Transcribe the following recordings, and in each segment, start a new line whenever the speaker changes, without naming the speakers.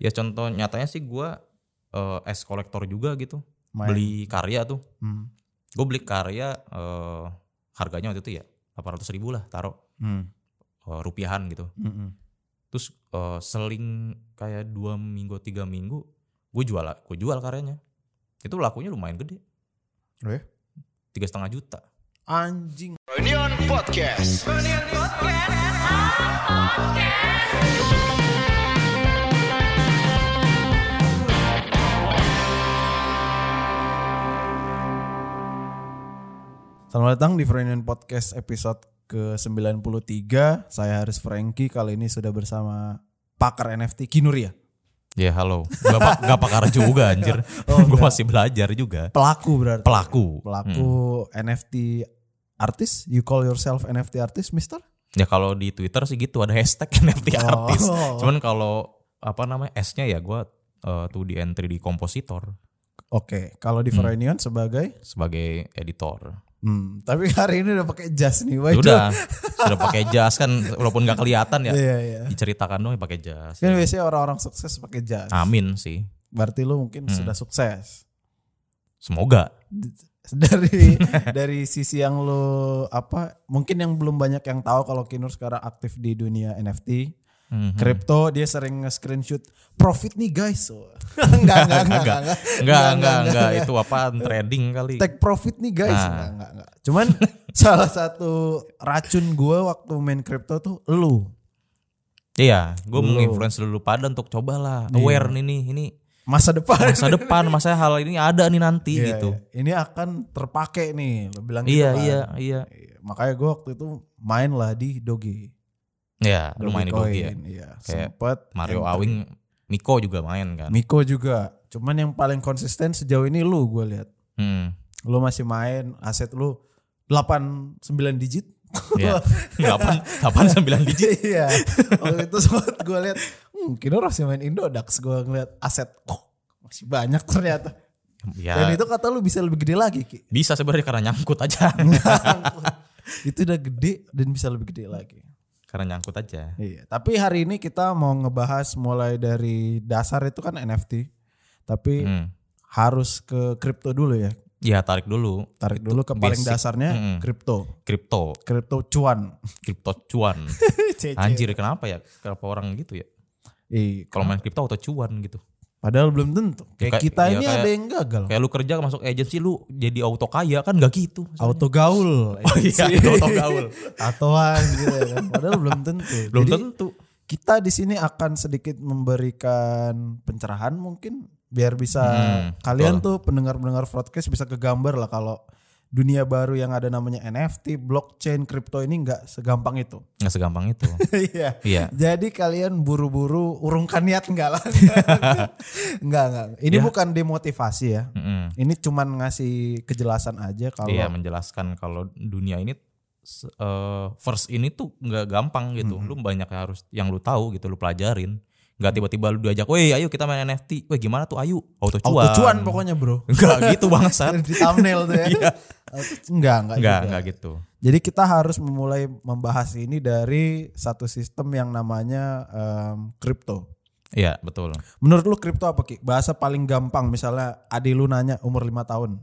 ya contoh nyatanya sih gua eh, es kolektor juga gitu
Main.
beli karya tuh
Hmm.
gue beli karya eh, harganya waktu itu ya 800 ribu lah taruh
Hmm.
eh, rupiahan gitu
Mm-mm.
terus eh, seling kayak dua minggu tiga minggu gue jual gue jual karyanya itu lakunya lumayan gede
Oh ya?
tiga setengah juta
Anjing.
Reunion Podcast.
Selamat datang di Frenion Podcast episode ke-93. Saya Haris Franky, kali ini sudah bersama pakar NFT Kinur ya?
ya halo gak, pa- gak pakar juga anjir
Oh,
gue
enggak.
masih belajar juga
Pelaku berarti.
pelaku
Pelaku
Hmm.
NFT artis. You call yourself NFT artis, mister?
Hmm. ya kalau di twitter sih gitu ada hashtag NFT
Oh.
artis cuman kalau apa namanya S-nya ya gue eh, tuh di entry di kompositor
Oke, kalau
Hmm.
di Frenion sebagai
sebagai editor
Hmm, tapi hari ini udah pakai jas nih, wajah.
Sudah, sudah pakai jas kan walaupun nggak kelihatan ya.
Iya, iya.
Diceritakan dong ya pakai jas.
Kan biasanya orang-orang sukses pakai jas.
Amin Hmm. sih.
Berarti lu mungkin sudah sukses.
Semoga.
Dari dari sisi yang lu apa? Mungkin yang belum banyak yang tahu kalau Kinur sekarang aktif di dunia NFT,
Mhm.
kripto, dia sering nge-screenshot profit nih guys. enggak, enggak, enggak, enggak, enggak.
Enggak, enggak,
iya,
enggak, itu apaan trading kali.
Take profit nih guys.
Iya. Nah.
Enggak, enggak, enggak. Cuman salah satu racun gue waktu main kripto tuh lu.
Iya, gue
Dulu.
menginfluence dulu pada untuk cobalah
Iya.
aware nih nih ini
Masa depan.
masa depan masa hal ini ada nih nanti
Iya,
gitu.
iya. Ini akan terpakai nih, lo bilang gitu
Iya,
kan.
iya, iya.
Iya, Makanya gue waktu itu main lah di Doge.
Ya, lumayan itu ya.
Coin, Iya,
Kayak
sempet.
Mario
enter.
Awing, Miko juga main kan.
Miko juga. Cuman yang paling konsisten sejauh ini lu gue lihat.
Hmm.
Lu masih main aset lu 8 9 digit.
Iya. 8 8 9 digit.
Iya. waktu itu sempat gue lihat, hmm, kira masih main Indodax gue ngeliat aset. Oh, masih banyak ternyata.
Ya,
Dan itu kata lu bisa lebih gede lagi, Ki.
bisa sebenarnya karena nyangkut aja.
itu udah gede dan bisa lebih gede lagi.
karena nyangkut aja.
Iya, tapi hari ini kita mau ngebahas mulai dari dasar itu kan NFT. Tapi
Hmm.
harus ke kripto dulu ya.
Ya tarik dulu
Tarik dulu ke paling
basic. Hmm.
dasarnya
Mm-mm.
kripto.
kripto,
Kripto cuan.
kripto cuan.
Cece.
Anjir kenapa ya? Kenapa orang gitu ya?
Iya.
Kalau main kripto auto cuan gitu.
Padahal belum tentu.
Ya,
Kayak
kayak-
kita
ya,
ini
kayak-
ada yang gagal.
Kayak lu kerja masuk agensi lu jadi auto kaya kan nggak gitu.
Auto gaul.
Oh iya, auto gaul.
Tatoan gitu ya kan. Padahal belum tentu.
Belum
Jadi,
tentu.
Kita di sini akan sedikit memberikan pencerahan mungkin biar bisa
Hmm,
kalian tuh pendengar-pendengar podcast bisa kegambar lah kalau dunia baru yang ada namanya NFT, blockchain, kripto ini nggak segampang itu.
Nggak segampang itu.
Iya.
Iya.
Jadi kalian buru-buru urungkan niat nggak lah? Nggak nggak. Ini
Ya.
bukan demotivasi ya.
Mm-mm.
Ini cuman ngasih kejelasan aja kalau
Iya menjelaskan kalau dunia ini se- eh, first ini tuh nggak gampang gitu. Lu banyak yang harus yang lu tahu gitu, lu pelajarin. Nggak tiba-tiba lu diajak, "Weh, ayo kita main NFT." "Weh, gimana tuh? Ayo, auto cuan."
auto cuan pokoknya bro.
Nggak gitu bangsat. Iya.
di thumbnail tuh ya. Enggak, enggak,
Nggak,
juga.
nggak gitu.
Jadi kita harus memulai membahas ini dari satu sistem yang namanya em, kripto.
Iya, betul.
Menurut lu kripto apa Ki? Bahasa paling gampang misalnya Adi lu nanya umur 5 tahun.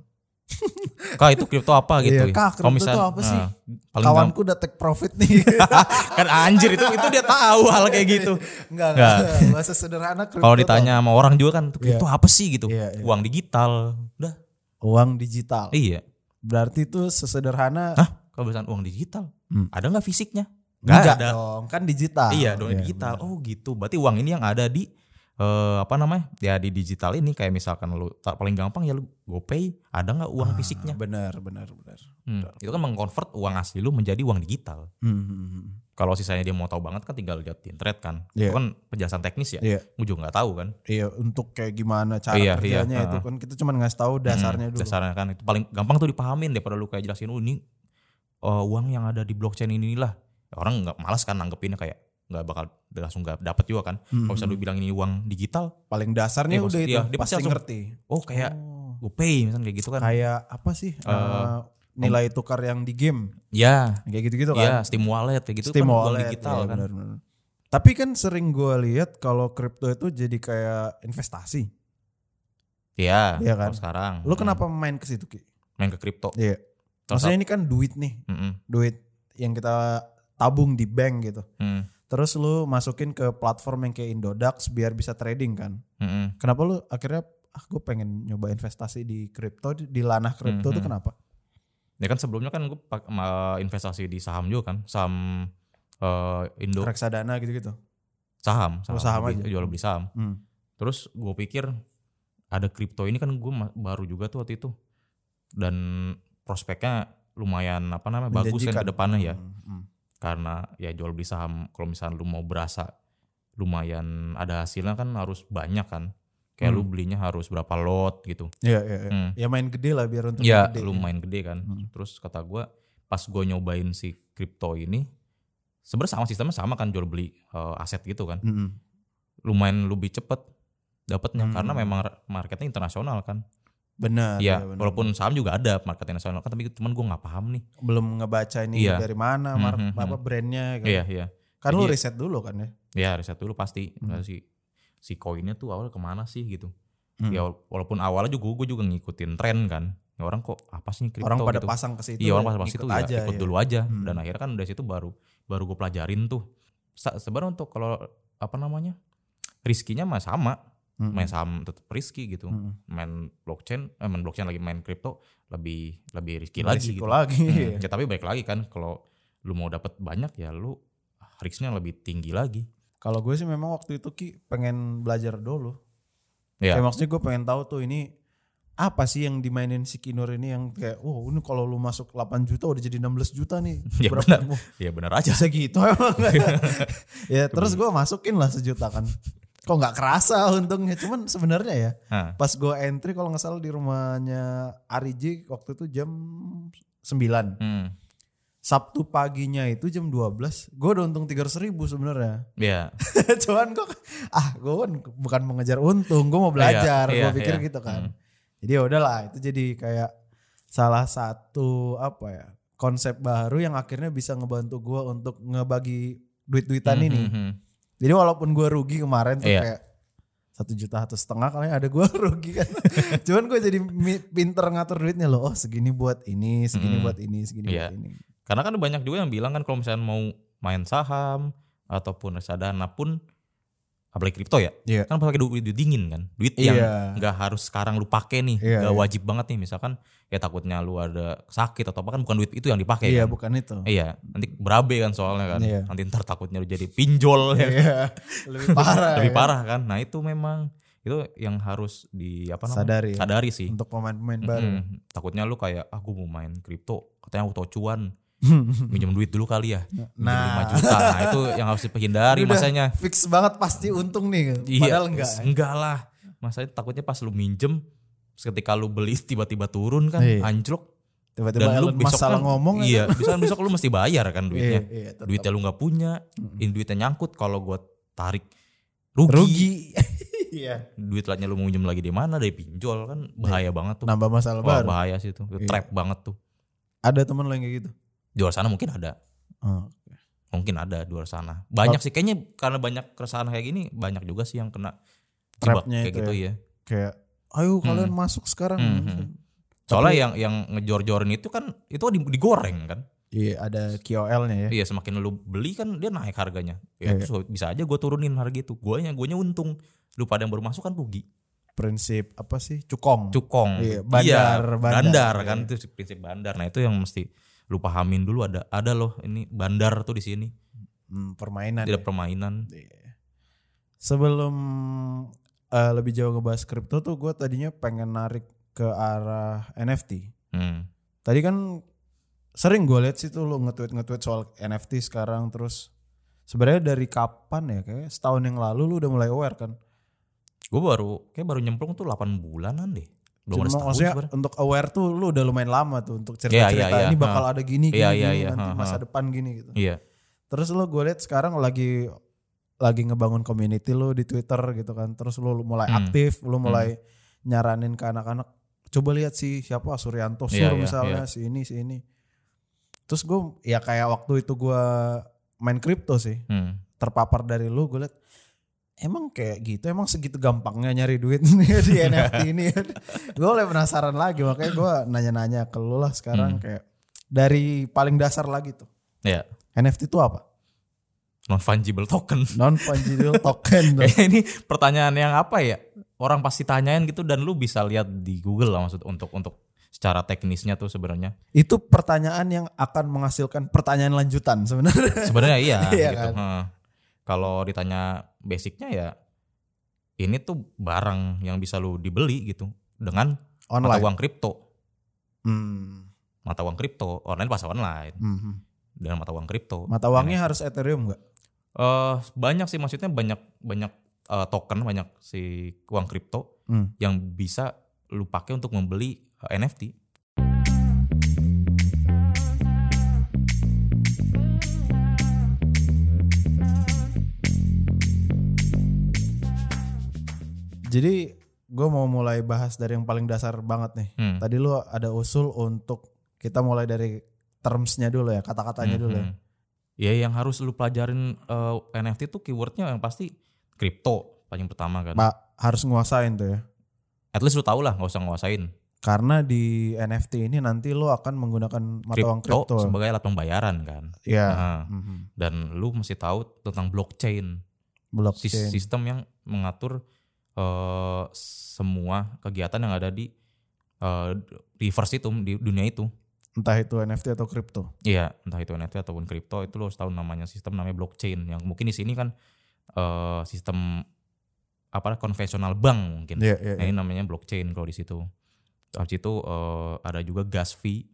Kak itu kripto apa gitu?
Iya, Kak,
Kalau
kripto
misal-
tuh apa sih?
Nah, paling gampang-
Kawanku udah take profit nih.
kan anjir itu itu dia tahu hal kayak gitu.
enggak,
Enggak.
enggak. Bahasa sederhana kripto.
Kalau
Iya, tuh
ditanya sama orang juga kan kripto apa sih gitu?
Iya, iya.
Uang digital. Udah.
uang digital.
Iya.
Berarti itu sesederhana
Hah? Kalau misalkan uang digital,
Hmm.
ada nggak fisiknya? Nggak
enggak
ada.
dong, kan digital.
iya, dong digital. Oh gitu. Berarti uang ini yang ada di eh, apa namanya? Ya di digital ini kayak misalkan lu tak paling gampang ya lu GoPay, ada nggak
Ah.
uang fisiknya?
Benar, benar, benar.
Hmm. Itu kan mengkonvert uang asli lu menjadi uang digital.
Hmm.
Kalau sisanya dia mau tahu banget kan tinggal lihat di internet kan.
Iya.
Itu kan penjelasan teknis ya.
Iya.
Gue juga nggak tahu kan.
Iya, untuk kayak gimana cara
Iya, iya,
kerjanya itu kan kita cuma ngasih tahu dasarnya
Hmm,
dulu.
Dasarnya kan itu paling gampang tuh dipahamin daripada lu kayak jelasin oh ini uh, uang yang ada di blockchain inilah. Orang nggak malas kan nanggepinnya kayak nggak bakal langsung nggak dapat juga kan. Kalau misalnya lu bilang ini uang digital,
Hmm. Paling dasarnya
Iya,
udah
maksud-
itu,
iya, dia
pasti
pasti langsung-
ngerti.
oh kayak
Oh.
GoPay misalnya kayak gitu kan.
Kayak apa sih eh, nilai tukar yang di game
Ya,
kayak gitu-gitu
ya
kan?
Steam Wallet kayak gitu
Steam
kan
wallet,
uang digital
iya,
kan.
benar-benar. Tapi kan sering gua lihat kalau kripto itu jadi kayak investasi.
Iya,
Iya
kalau
kan?
sekarang.
Lu kenapa main ke situ, Ki?
main ke kripto?
Iya.
Terus
Maksudnya ini kan duit nih,
Mm-mm.
duit yang kita tabung di bank gitu.
Mm.
Terus lu masukin ke platform yang kayak Indodax biar bisa trading kan.
Mm-mm.
Kenapa lu akhirnya ah gue pengen nyoba investasi di kripto di, di lanah kripto
Mhm.
tuh kenapa?
Ya kan sebelumnya kan gue investasi di saham juga kan, saham eh, Indo
Reksadana gitu-gitu.
saham,
Oh, saham
beli-
aja.
jual beli saham.
Hmm.
Terus gue pikir ada kripto ini kan gue baru juga tuh waktu itu dan prospeknya lumayan apa namanya bagus kan ke
Menjanjikan.
depannya ya
Hmm, hmm.
karena ya jual beli saham kalau misalnya lu mau berasa lumayan ada hasilnya kan harus banyak kan kayak lu
Hmm.
belinya harus berapa lot gitu
Iya, iya, iya.
Hmm.
Ya main gede lah biar untuk
ya
gede.
lumayan gede kan
Hmm.
terus kata gue pas gue nyobain si kripto ini sebenarnya sama sistemnya sama kan jual beli eh, aset gitu kan
Hmm.
lumayan lebih cepet dapatnya
Hmm.
karena memang ra- marketnya internasional kan
Benar.
Iya,
ya, benar.
walaupun saham juga ada market internasional kan, tapi cuman gue nggak paham nih.
belum ngebaca ini
Iya.
dari mana mar-
Mhm,
apa brandnya kan.
Iya, iya.
Kan lu
Jadi-
riset dulu kan ya.
Ya riset dulu pasti
Hmm.
Nah, si si koinnya tuh awal kemana sih gitu.
Hmm.
Ya walaupun awalnya juga gue juga ngikutin tren kan. Ya, orang kok apa sih ini kripto
orang pada
gitu.
pasang ke situ.
Iya orang
ya,
pas pas
ikut
itu ya ikut dulu aja
Hmm.
dan akhirnya kan dari situ baru baru gue pelajarin tuh. Sa- Sebenarnya untuk kalau apa namanya riskinya mah sama
Hmm.
main saham tetap riski gitu
Hmm.
main blockchain eh, main blockchain lagi main kripto lebih lebih riski lagi gitu.
Berisiko lagi. iya.
Hmm, Ya tapi baik lagi kan kalau lu mau dapat banyak ya lu risknya lebih tinggi lagi.
Kalau gue sih memang waktu itu Ki pengen belajar dulu.
Iya.
Kayak maksudnya gue pengen tahu tuh ini apa sih yang dimainin si Kinur ini yang kayak wow ini kalau lu masuk 8 juta udah jadi 16 juta nih.
Ya, benar.
Wah,
Ya benar aja.
bisa gitu emang. ya terus gue masukin lah sejuta kan. Kok nggak kerasa untungnya cuman sebenarnya ya
Hah.
pas gue entry kalau nggak salah di rumahnya Ariji waktu itu jam 9
Hmm.
Sabtu paginya itu jam 12 gue udah untung 300 ribu sebenarnya
Ya.
cuman kok ah gue kan bukan mengejar untung gue mau belajar
Iya,
gue pikir
iya.
gitu kan
Hmm.
jadi ya udahlah itu jadi kayak salah satu apa ya konsep baru yang akhirnya bisa ngebantu gue untuk ngebagi duit-duitan
Hmm,
ini
hmm, hmm.
jadi walaupun gue rugi kemarin tuh
Iya.
kayak satu juta atau setengah kali ada gue rugi kan cuman gue jadi mi- pinter ngatur duitnya loh oh segini buat ini segini
Hmm.
buat ini segini
Iya.
buat ini
Karena kan banyak juga yang bilang kan kalau misalnya mau main saham ataupun reksadana pun apalagi kripto ya.
Iya.
Kan pakai duit, duit dingin kan. Duit yang
iya
nggak harus sekarang lu pakai nih,
Iya,
nggak
iya.
wajib banget nih misalkan ya takutnya lu ada sakit atau apa kan bukan duit itu yang dipakai
iya
kan.
bukan itu
Iya, nanti berabe kan soalnya kan.
Iya.
Nanti ntar takutnya lu jadi pinjol ya
iya lebih parah
lebih
ya.
parah kan nah itu memang itu yang harus di apa namanya
sadari ya,
sadari sih
untuk pemain-pemain baru
Mm-mm. takutnya lu kayak aku mau main kripto katanya auto cuan minjem duit dulu kali ya nah. 5
nah
juta nah itu yang harus dihindari
Udah.
masanya
fix banget pasti untung nih
iya
padahal enggak ya?
enggak lah masanya takutnya pas lu minjem terus ketika lu beli tiba-tiba turun kan
Iya.
anjlok
tiba-tiba
dan lu
Elon
besok
Musk salah
kan-
ngomong ya
iya bisa besok lu mesti bayar kan
kan.
duitnya
Iya, iya, tetap. Hmm.
duitnya lu nggak punya
Mm-mm.
ini duitnya nyangkut kalau gua tarik
rugi iya
duit lainnya lu mau minjem lagi di mana dari pinjol kan bahaya banget tuh
nambah masalah
Wah,
baru
bahaya sih tuh
Iya.
trap banget tuh
ada temen lo yang kayak gitu
di luar sana mungkin ada
Oh,
mungkin ada di luar sana banyak sih kayaknya karena banyak keresahan kayak gini banyak juga sih yang kena jebak
Trapnya
kayak
itu
gitu ya,
kayak ayo kalian masuk sekarang
Hmm. soalnya yang yang ngejor-jorin itu kan itu di- digoreng kan
iya ada KOL-nya
iya
ya
semakin lu beli kan dia naik harganya ya,
Iya.
terus bisa aja gue turunin harga itu guanya guanya untung lu pada yang baru masuk kan rugi
prinsip apa sih cukong
cukong
Iya, bandar, bandar.
bandar, kan
Iya.
itu prinsip bandar nah itu yang mesti lu pahamin dulu ada ada loh ini bandar tuh di sini
Hmm, permainan
tidak
ya.
permainan
Iya. sebelum eh, lebih jauh ngebahas kripto tuh gue tadinya pengen narik ke arah NFT
hmm.
tadi kan sering gue lihat sih tuh lo nge-tweet nge-tweet soal NFT sekarang terus sebenarnya dari kapan ya kayak setahun yang lalu lu udah mulai aware kan
gue baru kayak baru nyemplung tuh 8 bulanan deh belum ada
Cuma
setahun
maksudnya
sebenarnya.
untuk aware tuh lu udah lumayan lama tuh untuk cerita-cerita
Iya, iya, iya.
ini bakal ada gini gini,
Iya, iya,
gini,
iya.
nanti
Ha, ha.
masa depan gini gitu.
iya
Terus lu gue lihat sekarang lagi lagi ngebangun community lu di Twitter gitu kan. Terus lu lu mulai
Hmm.
aktif, lu mulai nyaranin ke anak-anak coba lihat sih siapa Suryanto Sur
Iya, iya,
misalnya si ini si ini. Terus gue ya kayak waktu itu gue main kripto sih.
hmm.
terpapar dari lu gue liat emang kayak gitu emang segitu gampangnya nyari duit di NFT ini gue mulai penasaran lagi makanya gue nanya-nanya ke lu lah sekarang
Hmm.
kayak dari paling dasar lagi tuh
Ya,
NFT itu apa
non fungible token.
non fungible token tuh.
Kayaknya ini pertanyaan yang apa ya? Orang pasti tanyain gitu dan lu bisa lihat di Google lah maksud untuk untuk secara teknisnya tuh sebenarnya.
itu pertanyaan yang akan menghasilkan pertanyaan lanjutan sebenarnya
Sebenarnya iya
Iya
gitu. Heeh. Kalau ditanya basicnya ya ini tuh barang yang bisa lu dibeli gitu dengan mata
online
uang kripto.
Hmm.
Mata uang kripto, online pasar online
Mhm.
dengan mata uang kripto.
mata uangnya harus Ethereum nggak
Eh, banyak sih maksudnya banyak banyak eh, token, banyak si uang kripto
Hmm.
yang bisa lu pakai untuk membeli eh, NFT.
Jadi gue mau mulai bahas dari yang paling dasar banget nih.
Hmm.
Tadi lu ada usul untuk kita mulai dari termsnya dulu ya, kata-katanya dulu ya.
Mhm. Ya yang harus lu pelajarin eh, NFT tuh keywordnya yang pasti kripto paling pertama kan.
Ba- harus nguasain tuh ya.
At least lu tau lah nggak usah nguasain.
Karena di NFT ini nanti lu akan menggunakan mata uang
Kripto
kripto.
sebagai alat pembayaran kan.
Ya.
Nah,
Mhm.
dan lu mesti tahu tentang blockchain, Sis-
Blockchain.
sistem yang mengatur eh, semua kegiatan yang ada di eh, reverse itu di dunia itu.
Entah itu NFT atau kripto.
Iya, entah itu NFT ataupun kripto itu lo harus tahu namanya sistem namanya blockchain yang mungkin di sini kan eh, sistem apa konvensional bank mungkin.
Iya, iya.
Nah,
iya.
ini namanya blockchain kalau di situ. Habis itu eh, ada juga gas fee.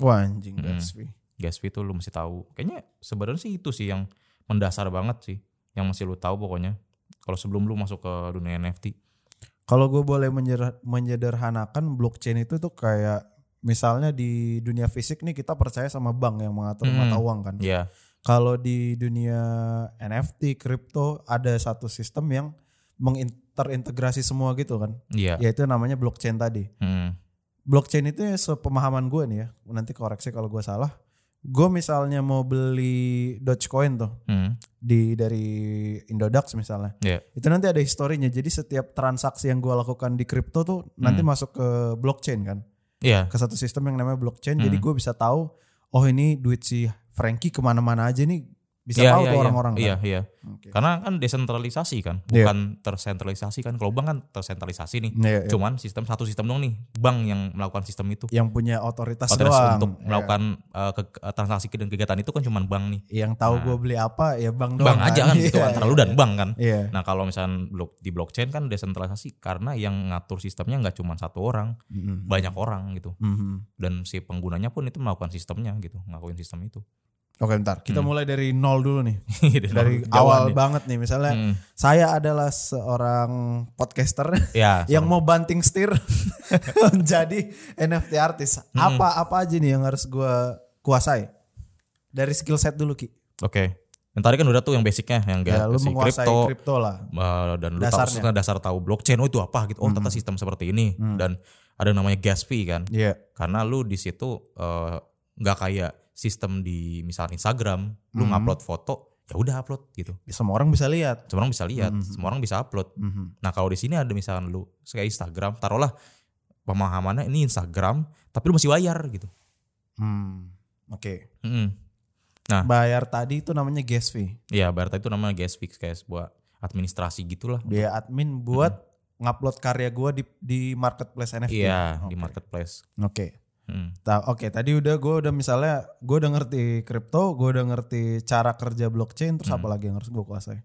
Wah, anjing
Mhm.
gas fee.
Gas fee tuh lu mesti tahu. Kayaknya sebenarnya sih itu sih yang mendasar banget sih, yang mesti lu tahu pokoknya. Kalau sebelum lu masuk ke dunia NFT.
Kalau gue boleh menyer- menyederhanakan blockchain itu tuh kayak misalnya di dunia fisik nih kita percaya sama bank yang mengatur
Hmm.
mata uang kan.
Iya.
Kalau di dunia NFT, kripto ada satu sistem yang mengintegrasi semua gitu kan.
Iya.
Yaitu namanya blockchain tadi.
Hmm.
Blockchain itu ya sepemahaman gue nih ya. Nanti koreksi kalau gue salah. Gue misalnya mau beli Dogecoin tuh
Hmm.
di dari Indodax misalnya.
Iya.
Itu nanti ada historinya. Jadi setiap transaksi yang gue lakukan di kripto tuh nanti
Hmm.
masuk ke blockchain kan.
Iya.
Ke satu sistem yang namanya blockchain.
Hmm.
Jadi gue bisa tahu oh ini duit si Frankie kemana-mana aja nih bisa
Iya,
tahu
iya,
tuh
iya.
orang-orang kan.
Iya, iya.
Oke.
Karena kan desentralisasi kan,
Iya.
bukan tersentralisasi kan. Kalau bank kan tersentralisasi nih.
Iya, iya.
Cuman sistem satu sistem dong nih, bank yang melakukan sistem itu.
yang punya otoritas,
Otoritas
doang.
untuk
Iya.
melakukan eh, ke- ke- transaksi dan kegiatan itu kan cuman bank nih.
yang tahu gue beli apa ya bang
Nah.
doang.
Bank aja kan
Iya,
gitu antara lu dan bank kan.
Iya.
Nah kalau misalnya blok- di blockchain kan desentralisasi karena yang ngatur sistemnya nggak cuma satu orang,
Mhm.
banyak orang gitu.
Mhm.
Dan si penggunanya pun itu melakukan sistemnya gitu, ngakuin sistem itu.
Oke bentar, kita
Hmm.
mulai dari nol dulu nih.
Dari
Dari
jauhan
awal
ya.
banget nih misalnya
Hmm,
saya adalah seorang podcaster
ya,
yang
sama.
mau banting setir menjadi NFT artis.
Hmm.
Apa-apa aja nih yang harus gue kuasai? Dari skill set dulu Ki.
oke. Yang tadi kan udah tuh yang basicnya yang
Ya,
kayak
lu
si
menguasai
kripto,
kripto lah.
eh, dan lu tahu
Dasarnya. Hmm.
sebenarnya dasar tahu blockchain oh itu apa gitu. Oh ternyata sistem seperti ini dan ada namanya gas fee kan.
Iya.
karena lu di situ eh, nggak kayak sistem di misal Instagram lu
Hmm.
ngupload foto ya udah upload gitu
Semua orang bisa lihat.
semua orang bisa lihat
Hmm.
semua orang bisa upload
Mhm.
nah kalau di sini ada misalkan lu kayak Instagram taruhlah pemahamannya ini Instagram tapi lu masih bayar gitu Hmm.
Hmm. Oke.
Mm-mm. Ah.
Bayar tadi itu namanya gas fee.
ya berarti itu namanya gas fee kayak sebuah administrasi gitulah
biaya admin buat ngupload karya gua di di marketplace NFT.
Hmm. iya
Oke.
di marketplace
Oke.
Mm.
Ta- Oke, tadi udah gua udah misalnya gua udah ngerti kripto, gua udah ngerti cara kerja blockchain, terus
Hmm.
apa lagi yang harus gua kuasai?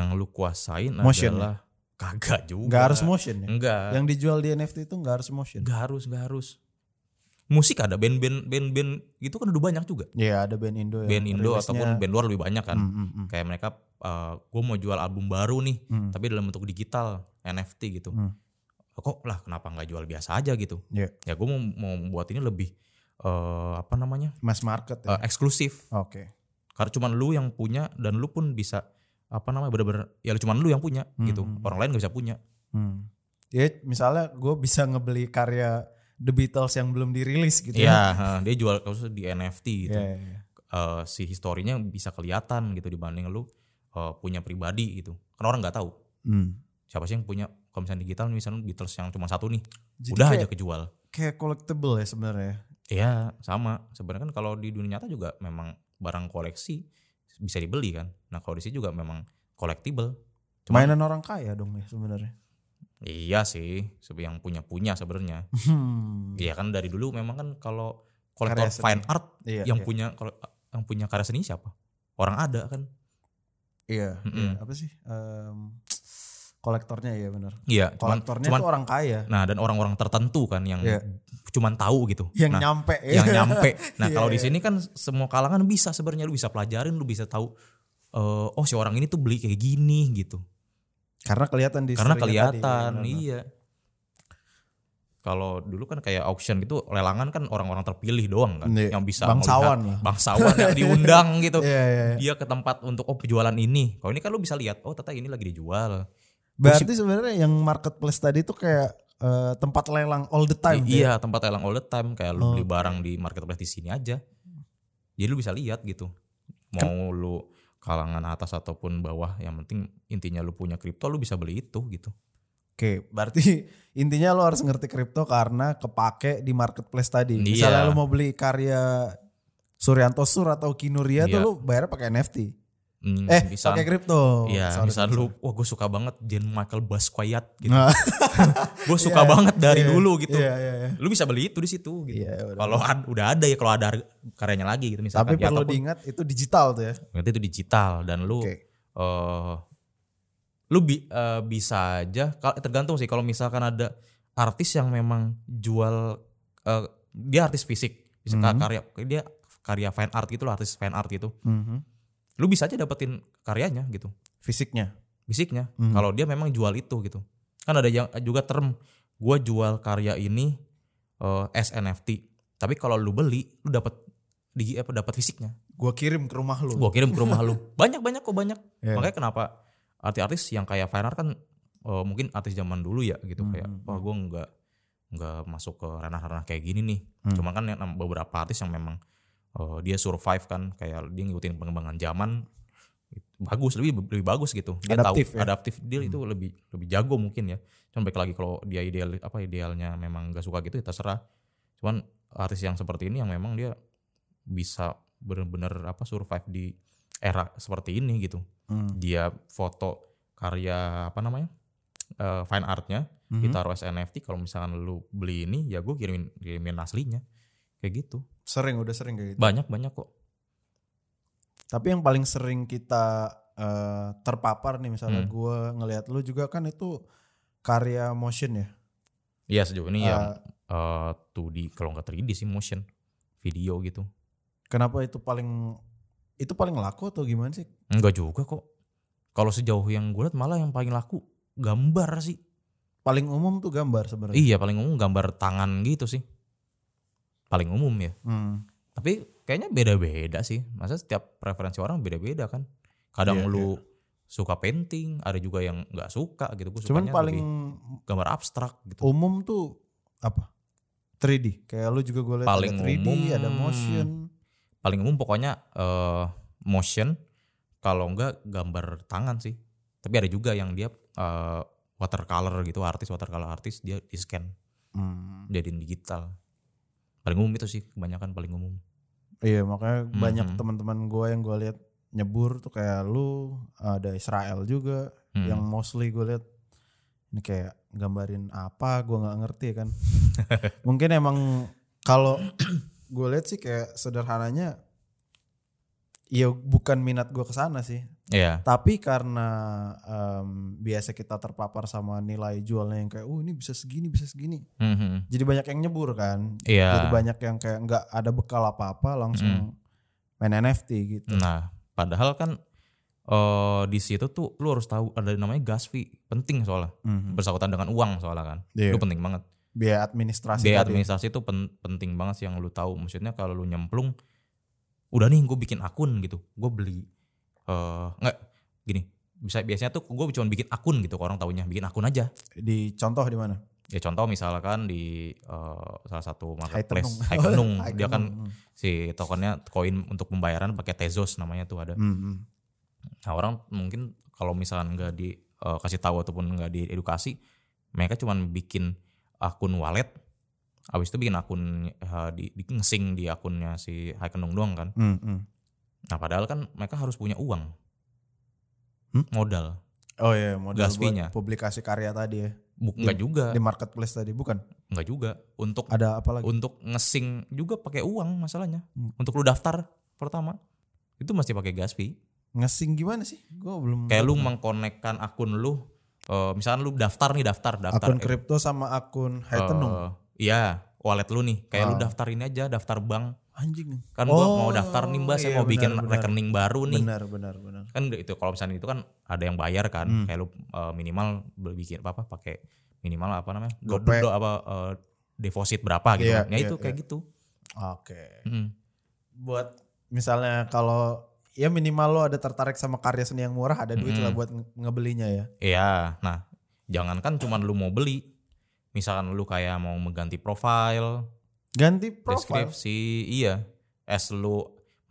yang lu kuasain
Motion
adalah kagak juga
Nggak harus motion ya.
enggak
Yang dijual di NFT itu nggak harus motion.
Gak harus, gak harus. Musik ada band-band band-band gitu kan udah banyak juga.
Iya, ada band Indo ya.
Band Indo
rilisnya.
ataupun band luar lebih banyak kan.
Hmm, hmm, hmm.
Kayak mereka gue mau jual album baru nih,
Hmm.
tapi dalam bentuk digital, NFT gitu.
Hmm.
Kok lah kenapa nggak jual biasa aja gitu?
Iya.
Ya gue mau mau buat ini lebih eh, apa namanya?
Mass market ya.
eh, eksklusif.
Oke.
Karena cuman lu yang punya dan lu pun bisa apa namanya bener-bener ya cuman lu yang punya
Hmm,
gitu.
hmm,
Orang lain gak bisa punya.
Hmm. Ya, misalnya gua bisa ngebeli karya The Beatles yang belum dirilis gitu
Iya, heeh, dia jual khusus di NFT gitu.
Iya, iya, iya.
eh, si historinya bisa kelihatan gitu dibanding lu eh, punya pribadi gitu. Karena orang nggak tahu
Hmm.
siapa sih yang punya kalau misalnya digital misalnya Beatles yang cuma satu nih,
Jadi
udah
kayak,
aja kejual.
kayak collectible ya sebenarnya.
Iya, sama. Sebenarnya kan kalau di dunia nyata juga memang barang koleksi bisa dibeli kan. Nah, kalau di sini juga memang collectible. Cuman-
Mainan orang kaya dong ya sebenarnya.
Iya sih, sebe- yang punya-punya sebenarnya.
Hmm.
Iya kan dari dulu memang kan kalau kolektor
Karya seni.
fine art
Iya,
yang
iya.
punya kalau yang punya karya seni siapa? Orang ada kan.
Iya,
Mm-mm.
iya. apa sih? Em, kolektornya ya benar.
Iya, cuman
Kolektornya
cuman
tuh orang kaya
nah dan orang-orang tertentu kan yang
Iya.
cuman tahu gitu.
yang
nah,
nyampe ya.
yang nyampe. Nah,
Iya,
kalau di
iya.
sini kan semua kalangan bisa sebenarnya lu bisa pelajarin, lu bisa tahu eh, oh si orang ini tuh beli kayak gini gitu.
Karena kelihatan di
Karena
story-nya tadi,
kelihatan,
benar-benar.
iya. Kalau dulu kan kayak auction gitu, lelangan kan orang-orang terpilih doang kan
Iya.
yang bisa
Bangsawan lah.
melihat bangsawan yang diundang gitu.
Iya, iya, iya.
Dia ke tempat untuk oh penjualan ini. Kalau ini kan lu bisa lihat, oh ternyata ini lagi dijual.
Berarti sebenarnya yang marketplace tadi tuh kayak eh, tempat lelang all the
I-
time. Oh. tuh ya?
iya, tempat lelang all the time kayak lu beli barang di marketplace di sini aja. Jadi lu bisa lihat gitu.
Kan
Mau lu kalangan atas ataupun bawah, yang penting intinya lu punya kripto lu bisa beli itu gitu.
Oke, berarti intinya lo harus ngerti kripto karena kepake di marketplace tadi.
Iya.
Misalnya lo mau beli karya Suryanto Sur atau Kinuria tuh
Iya.
lo bayarnya pakai NFT.
Hmm,
Eh,
bisa-
pakai kripto.
Iya,
Sorry,
misal
sorry.
lu, wah gue suka banget Jean Michael Basquiat gitu.
Nah,
Gue suka
Iya,
banget dari
iya,
dulu gitu.
Iya, iya, iya.
Lu bisa beli itu di situ gitu.
Iya, udah.
kalau ad- udah ada ya kalau ada harga- karyanya lagi gitu
Tapi
misalkan. Ya,
perlu
ataupun
diingat itu digital tuh ya.
nanti itu digital dan lu
Oke.
eh lu bi- eh, bisa aja kalau tergantung sih kalau misalkan ada artis yang memang jual eh, dia artis fisik, bisa ka-
Mhm.
karya dia karya fine art gitu lah, artis fine art gitu.
Mhm.
Lu bisa aja dapetin karyanya gitu.
Fisiknya.
fisiknya
Mhm.
kalau dia memang jual itu gitu kan ada yang juga term gue jual karya ini eh, as NFT tapi kalau lu beli lu dapat di apa dapat fisiknya
Gua kirim ke rumah lu.
gue kirim ke rumah lu banyak banyak kok banyak
Iya.
makanya kenapa artis-artis yang kayak fine art kan eh, mungkin artis zaman dulu ya gitu kayak
Mhm.
wah gue nggak nggak masuk ke ranah-ranah kayak gini nih
Hmm.
cuman kan yang nam- beberapa artis yang memang eh, dia survive kan kayak dia ngikutin pengembangan zaman bagus lebih lebih bagus gitu dia
Adaptif
tahu
ya.
adaptif dia itu lebih lebih jago mungkin ya cuman baik lagi kalau dia ideal apa idealnya memang gak suka gitu ya terserah cuman artis yang seperti ini yang memang dia bisa bener-bener apa survive di era seperti ini gitu
Hmm.
dia foto karya apa namanya eh, fine artnya
Mhm.
ditaruh as NFT kalau misalkan lu beli ini ya gue kirimin kirimin aslinya kayak gitu
Sering udah sering kayak gitu.
banyak banyak kok
Tapi yang paling sering kita eh, terpapar nih misalnya
Hmm.
gua ngelihat lu juga kan itu karya motion ya.
iya sejauh ini
Eh,
yang eh 2D kalau nggak 3D sih motion video gitu
Kenapa itu paling itu paling laku atau gimana sih?
enggak juga kok kalau sejauh yang gue liat malah yang paling laku gambar sih
Paling umum tuh gambar sebenarnya.
iya paling umum gambar tangan gitu sih paling umum ya
Hmm.
tapi kayaknya beda-beda sih masa setiap preferensi orang beda-beda kan kadang
Iya,
lu suka painting ada juga yang nggak suka gitu gue
Cuman
sukanya
paling
lebih gambar abstrak gitu
umum tuh apa? 3D. Kayak lu juga gue lihat
Paling
ada 3D,
umum.
ada motion.
paling umum pokoknya eh, motion kalau enggak gambar tangan sih tapi ada juga yang dia eh, watercolor gitu artis watercolor artis dia di scan
Hmm.
jadiin digital paling umum itu sih kebanyakan paling umum
Iya, makanya banyak
Mhm.
teman-teman gue yang gue lihat nyebur tuh kayak lu, ada Israel juga.
Hmm.
yang mostly gue lihat ini kayak gambarin apa gue nggak ngerti kan mungkin emang kalau gue lihat sih kayak sederhananya ya bukan minat gue kesana sih
Iya.
tapi karena em, biasa kita terpapar sama nilai jualnya yang kayak oh ini bisa segini bisa segini
Mhm.
jadi banyak yang nyebur kan
Iya.
jadi banyak yang kayak nggak ada bekal apa apa
Hmm.
langsung main NFT gitu
Nah, padahal kan eh di situ tuh lu harus tahu ada namanya gas fee, penting soalnya.
Mhm.
Bersangkutan dengan uang soalnya kan.
Iya.
Itu penting banget.
biaya administrasi
Biaya
tadi.
administrasi itu pen- penting banget sih yang lu tahu. Maksudnya kalau lu nyemplung udah nih gue bikin akun gitu. Gue beli eh enggak gini. Bisa biasanya tuh gue cuma bikin akun gitu orang taunya bikin akun aja.
di contoh di mana
Ya contoh misalkan di eh, salah satu
Hai
marketplace
Tenung.
Haikenung,
Hai
dia kan
Tenung. Hmm,
si tokennya koin untuk pembayaran pakai Tezos namanya tuh ada.
Mm, mm.
Nah orang mungkin kalau misalkan nggak dikasih tahu ataupun nggak diedukasi, mereka cuman bikin akun wallet, abis itu bikin akun eh, di, di ngesing di akunnya si Haikenung doang kan.
Hmm, hmm.
Nah padahal kan mereka harus punya uang,
Hmm?
modal.
Oh iya, modal
Gas fee-nya.
buat publikasi karya tadi ya.
Bu- Nggak juga,
Di marketplace tadi bukan?
nggak juga. Untuk
Ada apa lagi?
untuk ngesing juga pakai uang masalahnya.
Hmm.
Untuk lu daftar pertama itu masih pakai gas fee.
Ngesing gimana sih? Gue belum
Kayak lu mengkonekkan akun lu eh, misalnya lu daftar nih daftar daftar
akun kripto sama akun Hytenung.
Eh, Iya, wallet lu nih. Kayak lu
Ah.
daftar ini aja, daftar bank.
Anjing.
Kan gua
Oh,
mau daftar nih, Mbak, saya
iya,
mau bikin
benar, benar.
rekening baru nih.
Benar, benar, benar.
Kan itu kalau misalnya itu kan ada yang bayar kan.
Hmm.
Kayak lu eh, minimal beli- bikin apa-apa pakai minimal apa namanya?
Gopay.
Godo apa eh, deposit berapa gitu.
Iya,
kan. Nah,
iya,
itu kayak
iya.
gitu.
Oke.
Mm.
Buat misalnya kalau ya minimal lo ada tertarik sama karya seni yang murah ada duit
Mm-mm.
lah buat nge- ngebelinya ya.
Iya, nah jangankan cuman lu mau beli, misalkan lu kayak mau mengganti profile,
Ganti profile.
deskripsi, iya, as lu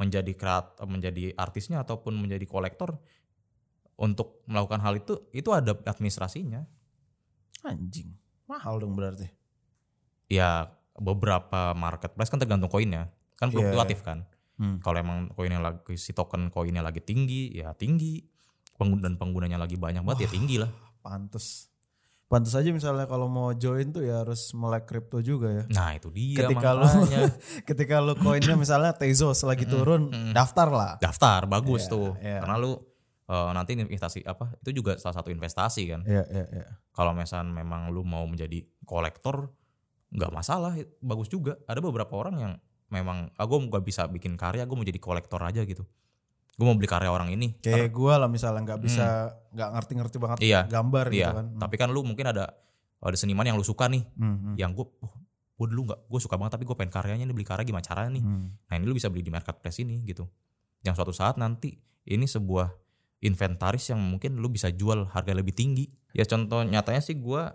menjadi kreat, menjadi artisnya ataupun menjadi kolektor untuk melakukan hal itu itu ada administrasinya.
Anjing. Mahal dong berarti.
Ya beberapa marketplace kan tergantung koinnya, kan
Iya.
fluktuatif kan.
Hmm.
Kalau emang koinnya lagi si token koinnya lagi tinggi, ya tinggi. Pengguna dan penggunanya lagi banyak banget ya tinggi lah.
Pantes. Pantes aja misalnya kalau mau join tuh ya harus melek kripto juga ya.
Nah itu dia
Ketika lu-
makanya.
Ketika lo koinnya misalnya Tezos lagi turun, daftar lah.
daftar Hmm, bagus
Iya,
tuh
iya.
karena lu eh, nanti investasi apa itu juga salah satu investasi kan
Iya, iya, iya.
kalau misalnya memang lu mau menjadi kolektor nggak masalah bagus juga ada beberapa orang yang memang ah gue nggak bisa bikin karya gue mau jadi kolektor aja gitu gue mau beli karya orang ini Ntar-
Kayak gue lah misalnya nggak bisa nggak ngerti-ngerti banget
Hmm. Iya,
gambar
iya
gitu kan.
tapi Iya kan lu mungkin ada ada seniman yang lu suka nih
Hmm, hmm,
yang gue gue dulu nggak gue suka banget tapi gue pengen karyanya nih beli karya gimana caranya nih Nah
hmm.
ini lu bisa beli di marketplace ini gitu. Yang suatu saat nanti ini sebuah inventaris yang mungkin lu bisa jual harga lebih tinggi. Ya contoh nyatanya sih gua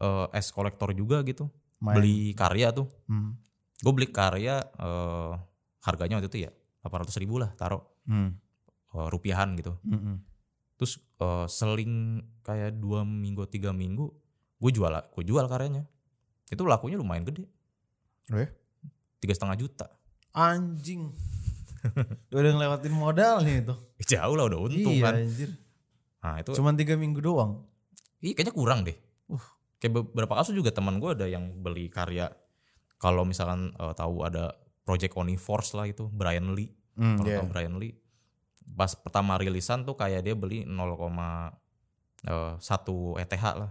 eh, es kolektor juga gitu.
Main.
Beli karya tuh.
Hmm,
Gue beli karya eh, harganya waktu itu ya 800 ribu lah taruh
hmm,
eh, rupiahan gitu.
hmm, hmm.
Terus eh, seling kayak dua minggu tiga minggu gue jual gue jual karyanya. Itu lakunya lumayan gede.
Oh ya?
Tiga setengah juta.
Anjing. udah ngelewatin modal nih itu.
Jauh lah udah untung
iya,
kan.
anjir.
Nah itu
Cuman tiga minggu doang.
Iya kayaknya kurang deh.
Uh.
Kayak beberapa kasus juga teman gue ada yang beli karya. Kalau misalkan eh, tahu ada Project Universe lah itu Brian Lee.
Hmm,
Kalau
iya.
tahu Brian Lee, pas pertama rilisan tuh kayak dia beli eh, 0,1 ETH E lah.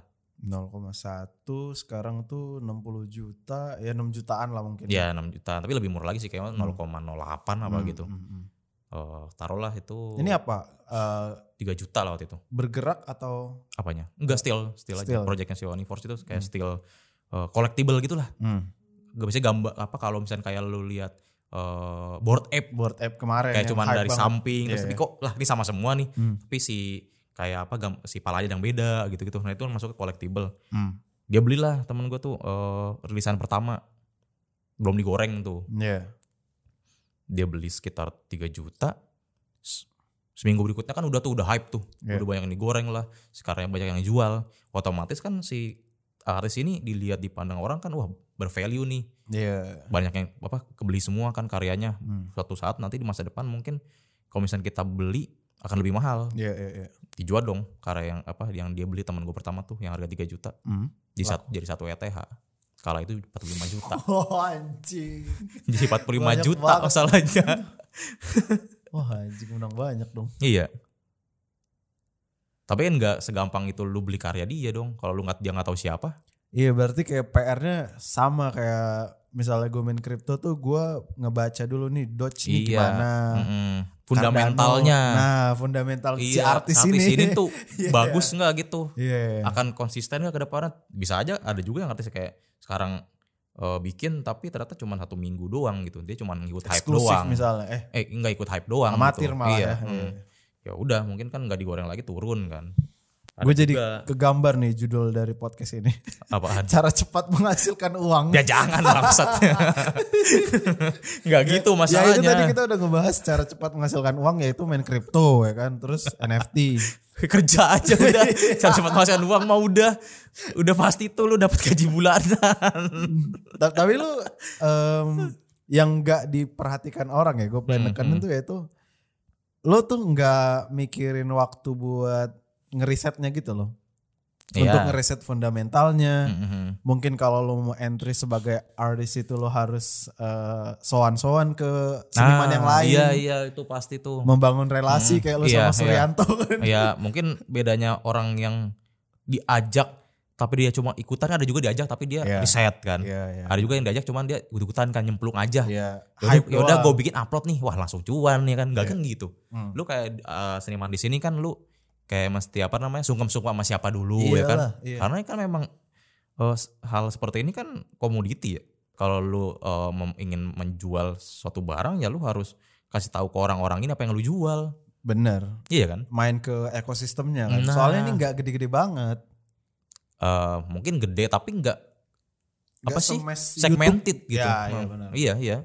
0,1 sekarang tuh 60 juta ya 6 jutaan lah mungkin.
Ya 6 juta, tapi lebih murah lagi sih kayaknya 0,08 apa
Hmm,
gitu.
hmm, hmm.
Eh, taruhlah itu
Ini apa? Eh,
3 juta lah waktu itu.
bergerak atau
Apanya? Enggak still, still, aja.
Still.
Projectnya si Universe itu
Hmm.
kayak still eh, collectible gitu lah. gak bisa gambar apa kalau misalnya kayak lu lihat eh board app
board app kemarin?
kayak
yang
cuman
hype
dari
banget.
samping terus
Iya,
tapi
iya.
kok lah ini sama semua nih
Hmm.
tapi si kayak apa gam, si palanya yang beda gitu gitu nah itu kan masuk ke collectible
Hmm.
dia belilah temen gue tuh eh, rilisan pertama belum digoreng tuh
Iya.
dia beli sekitar 3 juta S- seminggu berikutnya kan udah tuh udah hype tuh
Iya.
udah banyak yang digoreng lah sekarang banyak yang jual otomatis kan si artis ini dilihat dipandang orang kan wah bervalue nih
Iya.
banyak yang apa kebeli semua kan karyanya
Hmm.
suatu saat nanti di masa depan mungkin kalau misalnya kita beli akan lebih mahal
Iya, iya, iya.
dijual dong karya yang apa yang dia beli teman gue pertama tuh yang harga 3 juta
Hmm.
di satu jadi satu E ETH kala itu 45 juta
Oh anjing.
jadi 45
Banyak
juta
banget.
masalahnya
Wah anjing menang banyak dong.
iya tapi kan nggak segampang itu lu beli karya dia dong kalau lu nggak dia nggak tahu siapa
Iya berarti kayak PR-nya sama kayak misalnya gue main kripto tuh gue ngebaca dulu nih Dodge
Iya.
ini gimana.
Mm-mm.
Cardano.
fundamentalnya
Nah fundamental si
iya
artis, ini.
tuh bagus nggak gitu
Iya.
akan konsisten nggak ke depannya bisa aja ada juga yang artis kayak sekarang eh, bikin tapi ternyata cuma satu minggu doang gitu dia cuma ngikut hype
Eksklusif
doang
misalnya. Eh
eh nggak ikut hype doang
amatir
gitu.
malah
iya,
ya.
mm. ya udah mungkin kan nggak digoreng lagi turun kan Ada
Gue jadi
juga-
kegambar nih judul dari podcast ini.
apaan?
Cara cepat menghasilkan uang.
Ya jangan bangsat. Enggak gitu masalahnya.
Ya itu tadi kita udah ngebahas cara cepat menghasilkan uang yaitu main kripto ya kan, terus NFT.
kerja aja udah
Iya.
cara cepat menghasilkan uang mah udah udah pasti tuh lu dapat gaji bulanan
Ta- Tapi lu em, yang nggak diperhatikan orang ya, gue
Hmm,
pengen nekenin tuh yaitu lu tuh nggak mikirin waktu buat ngerisetnya gitu loh. Untuk
Iya.
ngeriset fundamentalnya.
Mhm.
Mungkin kalau lu mau entry sebagai artis itu lu harus eh, soan-soan ke
Ah,
seniman yang lain.
iya iya itu pasti tuh
membangun relasi
Hmm,
kayak lu
iya,
sama
iya.
Suryanto kan.
ya mungkin bedanya orang yang diajak tapi dia cuma ikutan ada juga diajak tapi dia
Iya.
riset kan
Iya, iya.
ada juga yang diajak cuman dia ikut-ikutan kan nyemplung aja
Iya.
Yaudah-
Hype
yaudah
doang.
gue bikin upload nih wah langsung cuan ya kan gak kan gitu
Hmm.
lu kayak eh, seniman di sini kan lu kayak mesti apa namanya sungkem-sungkem sama siapa dulu ya kan
Iyalah, iya.
karena kan memang eh, s- hal seperti ini kan komoditi ya kalau lu eh, mem- ingin menjual suatu barang ya lu harus kasih tahu ke orang-orang ini apa yang lu jual
Bener.
iya kan
Main ke ekosistemnya kan.
Nah.
Soalnya ini nggak gede-gede banget.
Eh, mungkin gede tapi nggak
Nggak
apa sih
semes YouTube.
segmented gitu
Ya, iya,
Hmm,
benar.
iya iya.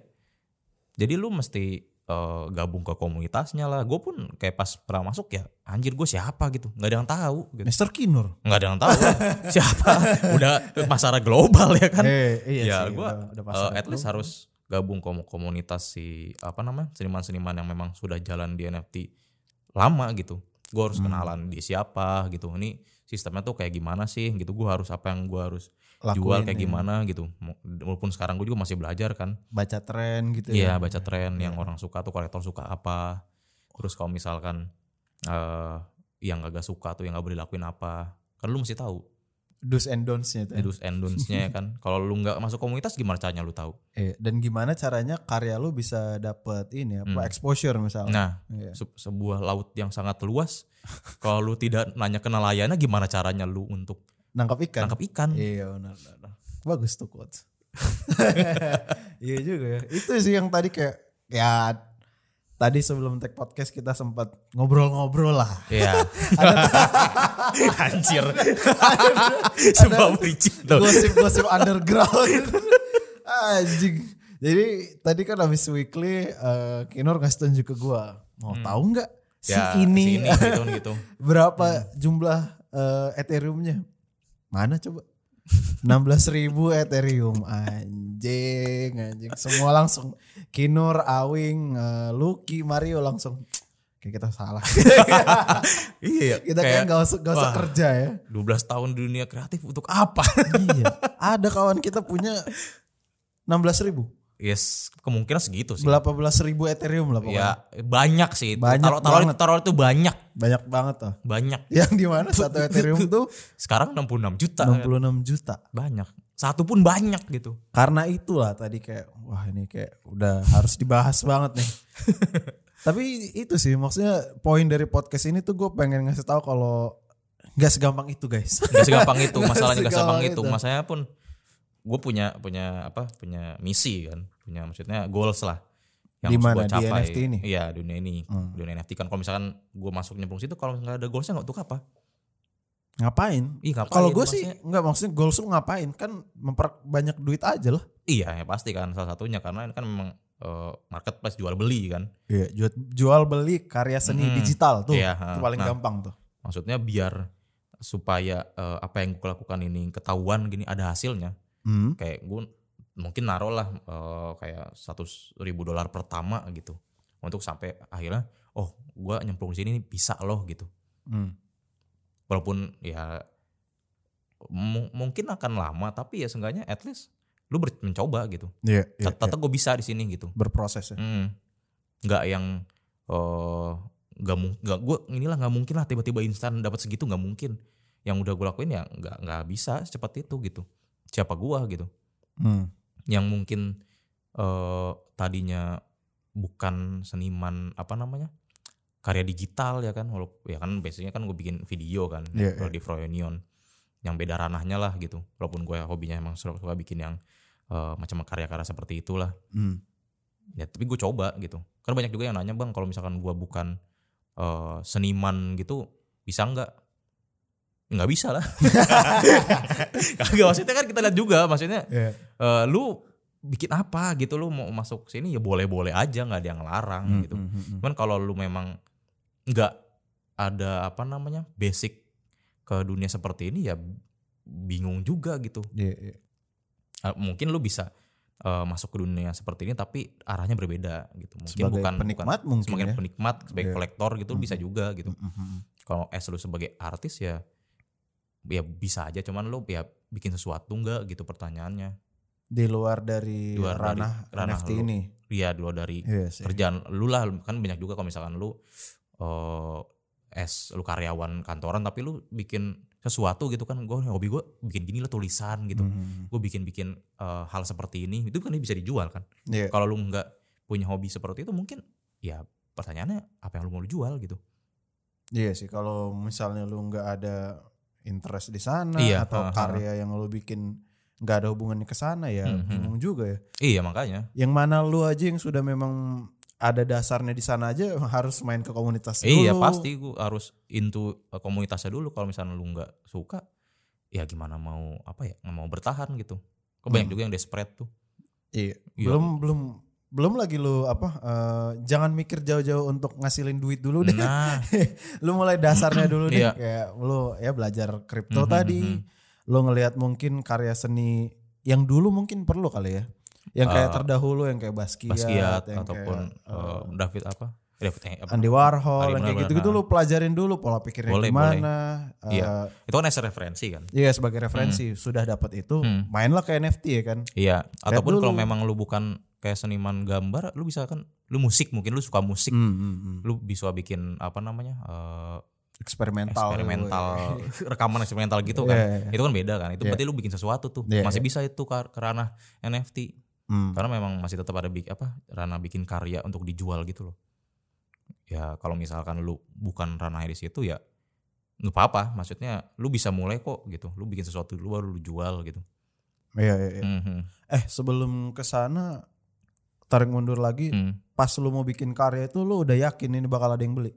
jadi lu mesti eh, gabung ke komunitasnya lah gue pun kayak pas pernah masuk ya anjir gue siapa gitu nggak ada yang tahu gitu.
Mr. Kinur.
nggak ada yang tahu siapa udah masalah global ya kan
Eh, iya
ya
sih,
gue
udah- udah pasar
at least
global.
harus gabung ke komunitas si apa namanya seniman-seniman yang memang sudah jalan di NFT lama gitu gue harus kenalan di siapa gitu ini sistemnya tuh kayak gimana sih gitu gue harus apa yang gue harus jual
Lakuin,
kayak
ya.
gimana gitu Mau- walaupun sekarang gue juga masih belajar kan
baca tren gitu
Iya
ya.
baca tren yang orang suka tuh kolektor suka apa. Terus kalau misalkan eh yang agak suka tuh yang gak boleh lakuin apa. Kan lu mesti tahu
Do's and don'ts-nya itu. ya.
do's and don'ts-nya ya kan. Kalau lu nggak masuk komunitas gimana caranya lu tahu?
Eh, dan gimana caranya karya lu bisa dapet ini apa
Hmm.
exposure misalnya.
Nah,
Iya.
se- sebuah laut yang sangat luas kalau lu tidak nanya ke nelayannya gimana caranya lu untuk
Nangkap ikan.
nangkap ikan?
Iya benar benar. Bagus tuh quotes. iya juga ya. Itu sih yang tadi kayak ya tadi sebelum tag podcast kita sempat ngobrol-ngobrol lah.
Iya. Anjir. Sebuah bridging tuh.
Gosip-gosip underground. Anjing. Jadi tadi kan habis weekly eh, Kinor ngasih tunjuk ke gua. Mau tahu nggak si
Hmm. Ya,
ini
si gitu gitu.
berapa jumlah eh, Ethereumnya? Mana coba? 16.000 ribu Ethereum anjing anjing semua langsung Kinur, Awing, eh, Lucky, Mario langsung kayak kita salah
Iya,
kita kayak nggak usah nggak usah
wah.
kerja ya
12 tahun di dunia kreatif untuk apa?
iya ada kawan kita punya 16.000 ribu
Yes, kemungkinan segitu sih.
berapa belas ribu Ethereum lah pokoknya
Ya banyak sih.
Banyak
Taruh taruh
banget.
taruh itu banyak,
banyak banget tuh
banyak.
yang di mana satu Ethereum tuh
Sekarang 66 juta.
66 juta
Banyak. Satu pun banyak gitu.
karena itulah tadi kayak wah ini kayak udah harus dibahas banget nih. Tapi itu sih maksudnya poin dari podcast ini tuh gue pengen ngasih tahu kalau nggak segampang itu guys.
Gak segampang itu
Nggak
masalahnya gak
segampang
segampang itu.
itu.
Masalahnya pun gue punya punya apa? Punya misi kan. Punya maksudnya goals lah.
Di
harus gua
mana? Di NFT ini?
Iya dunia ini.
Hmm.
Dunia NFT kan. Kalau misalkan gue masuk nyemplung situ kalau nggak ada goalsnya nggak untuk apa?
Ngapain?
Ih, ngapain gitu,
Kalau gue sih
maksudnya?
nggak maksudnya goals lu ngapain kan memperbanyak duit aja lah.
Iya ya pasti kan salah satunya karena ini kan memang eh, marketplace jual beli kan.
Iya Hmm. jual, jual beli karya seni
Mm-mm.
digital tuh
Iya, ha.
itu paling
Nah.
gampang tuh.
Maksudnya biar supaya eh, apa yang gue lakukan ini ketahuan gini ada hasilnya.
Hmm.
kayak gue mungkin naruh lah eh, kayak 100 ribu dolar pertama gitu untuk sampai akhirnya oh gua nyemplung di sini nih bisa loh gitu
Hmm.
walaupun ya mu- mungkin akan lama tapi ya seenggaknya at least lu ber- mencoba gitu
Iya, iya,
tetap
iya.
gue bisa di sini gitu
berproses ya.
Hmm. nggak yang eh, nggak mung- nggak gue inilah nggak mungkin lah tiba-tiba instan dapat segitu nggak mungkin yang udah gue lakuin ya nggak nggak bisa secepat itu gitu siapa gua gitu
Hmm.
yang mungkin eh, tadinya bukan seniman apa namanya karya digital ya kan walaupun ya kan biasanya kan gue bikin video kan
Iya,
kalau di Froyonion yang beda ranahnya lah gitu walaupun gue hobinya emang suka, suka bikin yang eh, macam karya-karya seperti itulah
Hmm.
ya tapi gue coba gitu kan banyak juga yang nanya bang kalau misalkan gue bukan eh, seniman gitu bisa nggak nggak bisa lah. Kagak maksudnya kan kita lihat juga maksudnya
Iya.
eh, lu bikin apa gitu lu mau masuk sini ya boleh-boleh aja nggak ada yang larang gitu.
Hmm, hmm, hmm.
Cuman kalau lu memang nggak ada apa namanya basic ke dunia seperti ini ya bingung juga gitu.
Iya, iya.
Eh, mungkin lu bisa eh, masuk ke dunia seperti ini tapi arahnya berbeda gitu. Mungkin
Sebagai
bukan
penikmat
bukan,
mungkin
sebagai
ya.
penikmat, sebagai
Iya.
kolektor gitu
Hmm.
bisa juga gitu.
Hmm, hmm, hmm.
Kalau es lu sebagai artis ya ya bisa aja cuman lu ya bikin sesuatu nggak gitu pertanyaannya.
Di luar dari
Di luar dari
ranah,
ranah
NFT
lu.
ini.
Iya dua dari
Iya sih.
kerjaan lu lah kan banyak juga kalau misalkan lu eh es lu karyawan kantoran tapi lu bikin sesuatu gitu kan gue hobi gue bikin gini lah tulisan gitu
Hmm,
gue bikin bikin hal seperti ini itu kan bisa dijual kan
Iya.
kalau lu nggak punya hobi seperti itu mungkin ya pertanyaannya apa yang lu mau jual gitu
Iya sih kalau misalnya lu nggak ada interest di sana
Iya,
atau
ha, ha.
karya yang lu bikin nggak ada hubungannya ke sana ya
Hmm, hmm.
bingung juga ya.
iya makanya
Yang mana lu aja yang sudah memang ada dasarnya di sana aja harus main ke komunitas
iya
dulu.
pasti gue harus into eh, komunitasnya dulu kalau misalnya lu nggak suka ya gimana mau apa ya nggak mau bertahan gitu kok banyak
Hmm.
juga yang desperate tuh
Iya.
Iya.
Belum belum belum lagi lu apa eh, jangan mikir jauh-jauh untuk ngasilin duit dulu deh.
nah
lu mulai dasarnya dulu deh
Iya.
kayak lu ya belajar
Mhm,
kripto tadi.
mhm.
Lu ngelihat mungkin karya seni yang dulu mungkin perlu kali ya. Yang kayak
Eh,
terdahulu yang kayak Basquiat,
Basquiat
yang
ataupun
kayak, eh,
eh, David apa? David eh, apa?
Andy Warhol, yang
Benar-benar,
kayak gitu-gitu
ah.
lu pelajarin dulu pola pikirnya
Boleh,
gimana. eh,
Iya. Itu kan as a referensi kan?
Iya sebagai referensi sudah dapat itu
Hmm.
mainlah ke NFT ya kan.
Iya. Ataupun
dulu.
kalau memang lu bukan kayak seniman gambar, lu bisa kan lu musik mungkin lu suka musik,
Hmm, hmm, hmm.
lu bisa bikin apa namanya? eh,
Eksperimental.
eksperimental rekaman eksperimental gitu
Iya,
kan.
iya, iya.
Itu kan beda kan? Itu
Iya.
berarti lu bikin sesuatu tuh.
Iya,
Masih bisa itu ke, ke ranah NFT
Hmm.
karena memang masih tetap ada big apa? ranah bikin karya untuk dijual gitu loh. Ya kalau misalkan lu bukan ranahnya di situ ya nggak apa-apa maksudnya lu bisa mulai kok gitu lu bikin sesuatu dulu baru lu jual gitu
Iya, iya, iya.
Mhm.
Eh sebelum ke sana tarik mundur lagi,
Hmm.
pas lu mau bikin karya itu lu udah yakin ini bakal ada yang beli.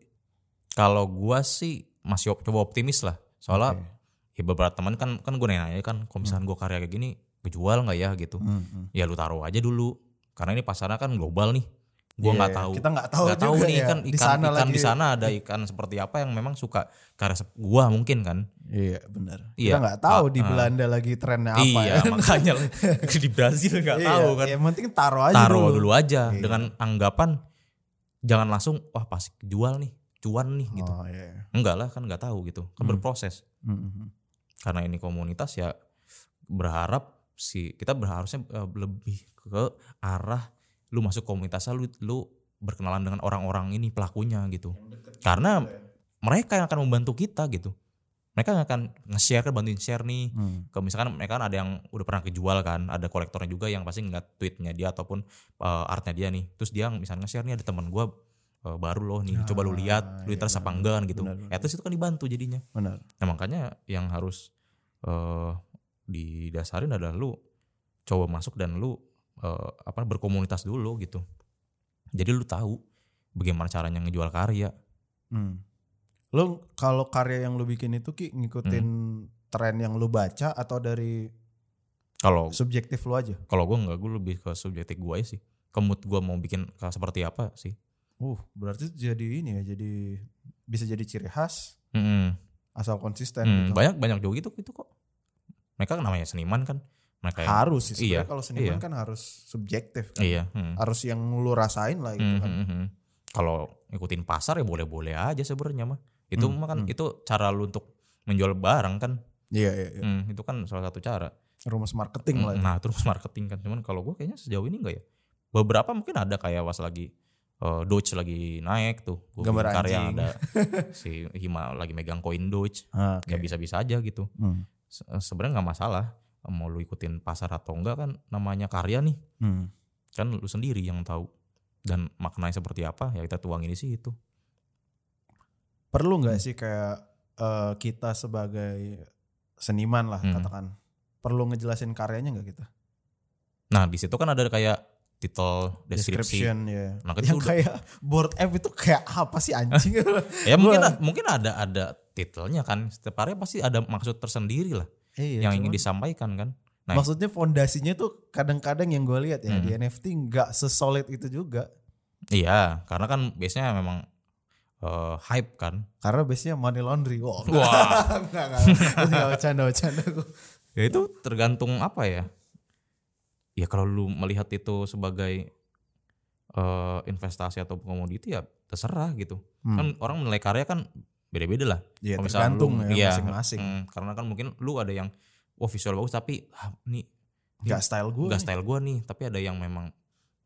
Kalau gua sih masih op- coba optimis lah. Soalnya
Oke.
ya beberapa teman kan kan gue nanya kan kalau misalkan gua karya kayak gini kejual nggak ya gitu.
Hmm, hmm.
Ya lu taruh aja dulu. Karena ini pasarnya kan global nih. Gua
Iya,
nggak tahu.
Kita nggak tahu
Nggak tahu
juga
nih
ya.
kan ikan
di sana
ikan
lagi.
di sana ada ikan seperti apa yang memang suka karya sep- gua mungkin kan.
Iya benar.
Iya.
Kita nggak tahu di
Ah, ah.
Belanda lagi trennya apa
iya,
ya.
makanya lu- di Brazil nggak
Iya,
tahu kan.
Yang penting taruh aja
Taruh
dulu.
dulu aja
Iya.
dengan anggapan jangan langsung wah pasti jual nih, cuan nih gitu.
Oh, iya.
Enggak lah kan nggak tahu gitu. Kan
Hmm.
berproses.
Hmm, hmm, hmm.
karena ini komunitas ya berharap si kita berharusnya eh, lebih ke arah lu masuk komunitasnya lu lu berkenalan dengan orang-orang ini pelakunya gitu karena mereka yang akan membantu kita gitu mereka yang akan nge-share kan bantuin share nih
Hmm.
ke misalkan mereka kan ada yang udah pernah kejual kan ada kolektornya juga yang pasti ngeliat tweetnya dia ataupun eh, artnya dia nih terus dia misalnya nge-share nih ada teman gua eh, baru loh nih coba lu
Ah,
lihat lu
iya,
interest apa
benar,
enggak kan gitu
benar, benar.
ya terus itu kan dibantu jadinya
Benar.
Nah makanya yang harus eh didasarin adalah lu coba masuk dan lu eh, apa berkomunitas dulu gitu. Jadi lu tahu bagaimana caranya ngejual karya.
Hmm. Lu kalau karya yang lu bikin itu ki ngikutin
Hmm.
tren yang lu baca atau dari
Kalau
subjektif lu aja?
kalau gue nggak gue lebih ke subjektif gue aja sih. Kemut gue mau bikin ka- seperti apa sih?
Uh, berarti jadi ini ya, jadi bisa jadi ciri khas
Mm-mm.
asal konsisten
Mm,
gitu.
Banyak banyak juga gitu gitu kok. Mereka kan namanya seniman kan. Mereka yang-
harus sih sebenarnya
Iya,
kalau seniman
iya.
kan harus subjektif kan.
iya. mm.
Harus yang lu rasain lah gitu kan.
Mhm, mhm. Kalau ngikutin pasar ya boleh-boleh aja sebenarnya mah. Itu
Hmm,
mah kan
hmm.
itu cara lu untuk menjual barang kan.
Iya, iya, iya.
Hmm, itu kan salah satu cara.
Rumus marketing lah. itu.
Nah, terus marketing kan. Cuman kalau gue kayaknya sejauh ini enggak ya. Beberapa mungkin ada kayak was lagi eh, Doge lagi naik tuh. Gua
Gambar
bikin karya
anjing.
ada si Hima lagi megang koin Doge.
Ah, oke.
Ya bisa-bisa aja gitu.
Hmm,
Se- Sebenarnya nggak masalah eh, mau lu ikutin pasar atau enggak kan namanya karya nih.
hmm.
Kan lu sendiri yang tahu dan maknanya seperti apa ya kita tuangin di situ.
Perlu nggak sih kayak eh, kita sebagai seniman lah
Hmm.
gitu? katakan. Perlu ngejelasin karyanya nggak kita?
Nah, di situ kan ada kayak titel deskripsi.
description ya.
Nah, kan
yang
itu udah-
kayak board app itu kayak apa sih anjing?
Ya
Iya,
mungkin mungkin ada ada titelnya kan. Setiap karya pasti ada maksud tersendiri lah
Iya,
yang
cuman
ingin disampaikan kan. Nah, Mm-hmm.
maksudnya fondasinya tuh kadang-kadang yang gue lihat ya di NFT nggak sesolid itu juga.
iya, karena kan biasanya memang eh, hype kan.
Karena biasanya money laundry. Wow.
Wah,
enggak, enggak. Enggak bercanda, bercanda gue.
ya itu tergantung apa ya? Ya kalau lu melihat itu sebagai eh, investasi atau komoditi ya terserah gitu.
Hmm.
Kan orang menilai karya kan beda-beda lah.
Iya,
Kalau misalnya
tergantung
lu-
ya
iya,
masing-masing.
mm, karena kan mungkin lu ada yang wah visual bagus tapi ah, ini
Enggak Iya. style gue.
enggak
nih.
style gua nih, tapi ada yang memang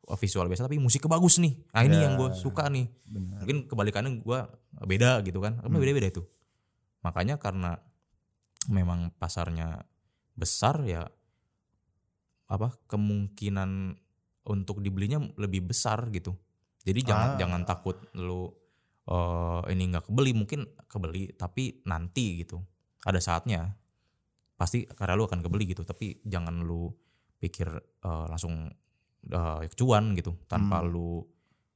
wah, visual biasa tapi musiknya bagus nih. Ah ini
Ya.
yang gua suka nih.
Benar.
Mungkin kebalikannya gua beda gitu kan. Kan
Hmm.
beda-beda itu. Makanya karena memang pasarnya besar ya apa kemungkinan untuk dibelinya lebih besar gitu. Jadi jangan
Ah.
jangan takut lu eh, ini nggak kebeli mungkin kebeli tapi nanti gitu. Ada saatnya pasti karya lu akan kebeli gitu tapi jangan lu pikir eh, langsung eh, cuan gitu tanpa
Hmm.
lu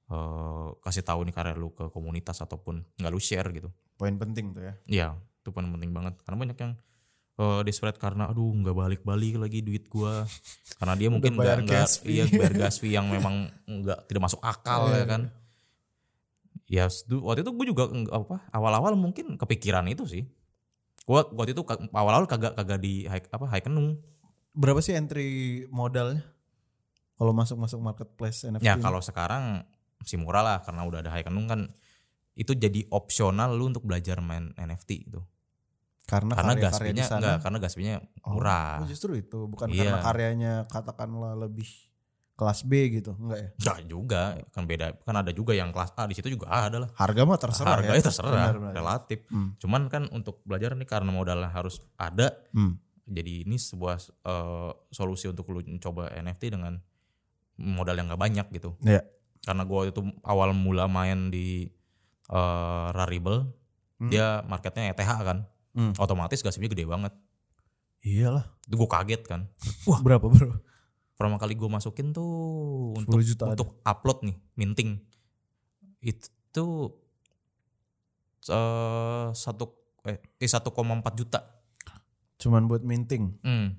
eh, kasih tahu nih karya lu ke komunitas ataupun nggak lu share gitu.
Poin penting tuh ya.
Iya, itu paling penting banget. Karena banyak yang eh desperate karena aduh nggak balik-balik lagi duit gua. Karena dia mungkin
Udah bayar
nggak nggak
gas fee. Iya.
iya bayar gas fee yang memang nggak tidak masuk akal ya kan. Ya sedu- waktu itu gue juga nggak- apa awal-awal mungkin kepikiran itu sih. Gua waktu itu ka- awal-awal kagak kagak di high, apa high kenung.
Berapa sih entry modalnya? Kalau masuk-masuk marketplace NFT.
Ya
ini?
kalau sekarang masih murah lah karena udah ada high kenung kan itu jadi opsional lu untuk belajar main NFT itu.
karena,
gitu. Karena
karya-karya
gas fee-nya
di Nah, sana-
enggak, karena gas fee-nya
Oh,
murah.
oh, justru itu bukan
Iya.
karena karyanya katakanlah lebih kelas B gitu, enggak ya?
Enggak juga, kan beda. Kan ada juga yang kelas A di situ juga ada lah.
Harga mah terserah ya.
Harganya terserah,
Benar, benar.
relatif.
Hmm.
Cuman kan untuk belajar nih karena modalnya harus ada,
Hmm.
jadi ini sebuah eh, solusi untuk lu coba NFT dengan modal yang gak banyak gitu.
Iya.
Karena gua itu awal mula main di eh, Rarible,
Hmm.
dia marketnya ETH kan,
Hmm.
otomatis gasipnya gede banget.
Iyalah.
Itu gue kaget kan.
Wah, berapa, Bro?
Pertama kali gua masukin tuh untuk
10 juta.
untuk upload nih minting itu eh satu eh eh, 1,4 juta
Cuman buat minting.
Hmm.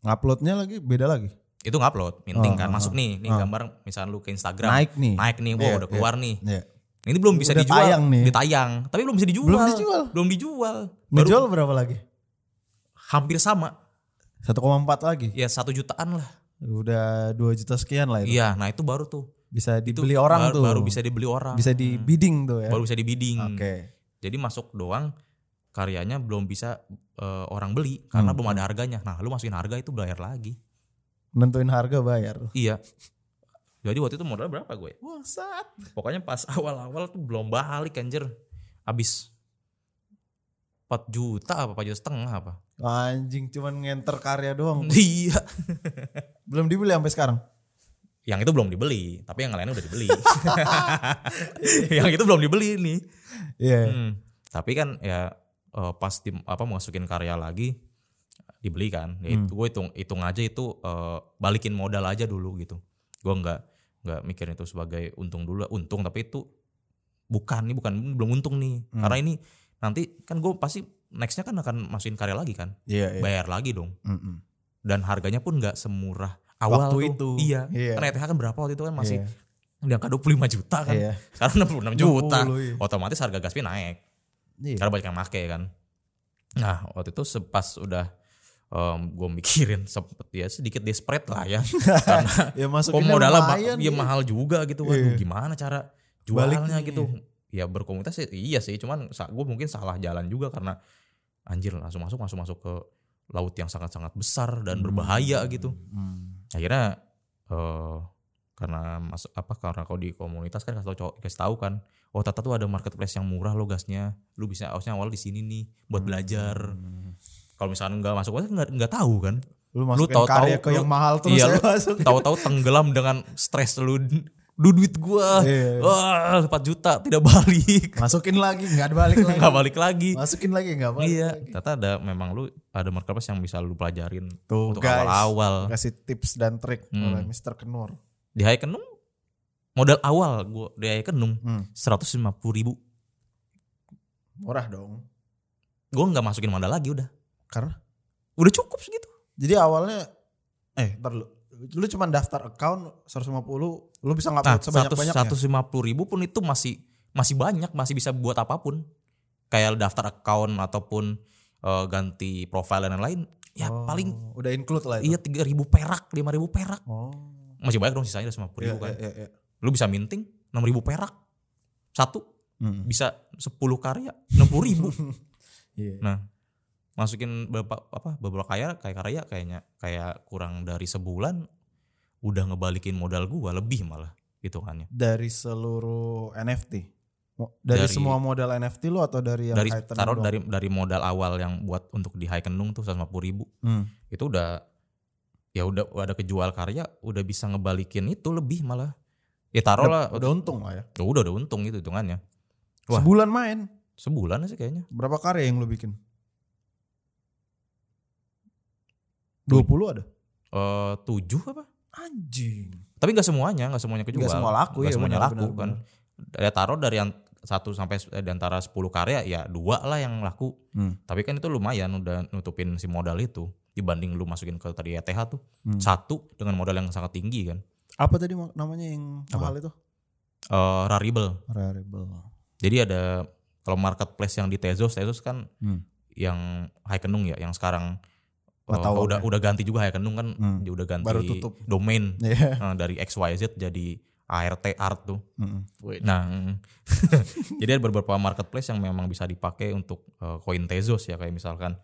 Uploadnya lagi beda lagi.
itu ngupload minting
Ah,
kan
ah,
masuk nih nih
ah.
gambar misalnya lu ke Instagram naik,
Naik
nih
nih.
wow
Iya,
udah keluar nih
Iya.
ini belum bisa
Udah
dijual
tayang nih.
ditayang tapi belum bisa dijual
Belum dijual.
belum dijual baru
Ngejual berapa lagi?
hampir sama
1,4 lagi.
ya satu jutaan lah
Udah 2 juta sekian lah itu.
iya nah itu baru tuh
Bisa
itu
dibeli orang
baru,
tuh.
baru bisa dibeli orang Hmm.
bisa di bidding tuh ya.
baru bisa dibidding
Oke.
Jadi masuk doang karyanya belum bisa eh, orang beli karena
Hmm.
belum ada harganya. Nah, lu masukin harga itu bayar lagi.
Nentuin harga bayar.
Iya. Jadi waktu itu modal berapa gue? ya?
Bangsat.
Pokoknya pas awal-awal tuh belum balik anjir. Habis 4 juta apa 4 juta setengah apa?
Anjing cuman ngenter karya doang.
Iya.
Belum dibeli sampai sekarang.
Yang itu belum dibeli, tapi yang lainnya udah dibeli. yang itu belum dibeli nih.
Iya.
Hmm. Tapi kan ya eh, pas tim apa masukin karya lagi dibeli kan. Ya
Hmm.
itu gue hitung hitung aja itu eh, balikin modal aja dulu gitu. Gue nggak nggak mikirin itu sebagai untung dulu. Untung tapi itu bukan nih bukan belum untung nih.
Hmm.
Karena ini nanti kan gue pasti nextnya kan akan masukin karya lagi kan.
Iya, iya.
Bayar lagi dong.
Mm-mm.
Dan harganya pun nggak semurah awal
Waktu
tuh.
itu.
Iya.
Iya.
Karena ETH kan berapa waktu itu kan masih
Iya.
di angka 25 juta kan.
Iya.
Sekarang 66 juta.
20, iya.
Otomatis harga gas fee naik
Iya.
karena banyak yang make kan nah waktu itu se- pas udah gue mikirin sempet ya sedikit desperate lah ya karena
Ya masukin
pemodalnya ma- ya mahal juga gitu waduh
Iya.
gimana cara jualnya
Baliknya.
gitu ya berkomunitas sih, iya sih cuman gue mungkin salah jalan juga karena anjir langsung masuk langsung masuk ke laut yang sangat-sangat besar dan berbahaya gitu
Mm.
akhirnya eh karena masuk apa karena kalau di komunitas kan kasih tahu cowok- kasih tahu kan oh tata tuh ada marketplace yang murah lo gasnya lu bisa harusnya awal di sini nih
Hmm.
buat belajar kalau misalnya nggak masuk kan nggak nggak tahu kan
Lu
lu
masukin
tahu-tahu
karya ke
lu-
yang mahal terus
iya,
ya, saya
lu
masuk.
tahu-tahu tenggelam dengan stres lu du duit gua
Iya.
wah 4 juta tidak balik
Masukin lagi nggak ada balik lagi.
nggak balik lagi
Masukin lagi nggak balik.
iya tata ada memang lu ada marketplace yang bisa lu pelajarin
Tuh
untuk
guys.
awal-awal
Kasih tips dan trik
Hmm.
oleh Mr. Kenur.
di Haikenung modal awal gua di Haikenung
Hmm.
seratus lima puluh ribu
Murah dong.
gue nggak masukin modal lagi udah
Karena?
udah cukup segitu
Jadi awalnya eh ntar lu, lu cuma daftar account 150, lu bisa
nah
ngupload sebanyak
seratus
banyaknya.
seratus lima puluh ribu pun itu masih masih banyak masih bisa buat apapun kayak daftar account ataupun eh, ganti profile dan lain-lain ya
Oh,
paling
udah include lah itu.
iya tiga ribu perak lima ribu perak
Oh.
masih banyak dong sisanya lima puluh
Iya,
ribu kan
iya, iya, iya.
lu bisa minting enam ribu perak satu
Hmm.
bisa 10 karya 60 ribu
Iya.
nah masukin berapa apa beberapa kaya kayak karya kayaknya kayak kurang dari sebulan udah ngebalikin modal gua lebih malah hitungannya
Dari seluruh NFT. Mo- Dari,
Dari-
semua model NFT lu atau dari yang
dari
kaitan
taruh
doang?
dari dari modal awal yang buat untuk di high kendung tuh 150 ribu
Hmm.
itu udah ya udah udah kejual karya udah bisa ngebalikin itu lebih malah ya taruh lah
udah untung lah ya.
udah udah untung gitu hitungannya Wah.
Sebulan main
sebulan sih kayaknya
berapa karya yang lu bikin? 20 ada?
eh tujuh apa
Anjing.
tapi nggak semuanya nggak semuanya kejual
Nggak semua laku
Nggak
ya,
semuanya
benar,
laku
benar,
kan ya taruh dari yang satu sampai s- eh, di antara 10 karya ya dua lah yang laku
Hmm.
tapi kan itu lumayan udah nutupin si modal itu dibanding lu masukin ke tadi ETH tuh
Hmm.
satu dengan modal yang sangat tinggi kan
Apa tadi ma- namanya yang
Apa?
mahal itu?
Eh rarible
Rarible.
jadi ada kalau marketplace yang di Tezos Tezos kan
Hmm.
yang Haikenung ya yang sekarang eh,
Mata
udah
uangnya.
udah ganti juga Haikenung kan
Hmm.
dia udah ganti
Baru tutup.
domain
Iya.
eh, dari XYZ jadi ART art tuh
Mm-mm.
Nah, mm. jadi ada beberapa marketplace yang memang bisa dipakai untuk eh, koin Tezos ya kayak misalkan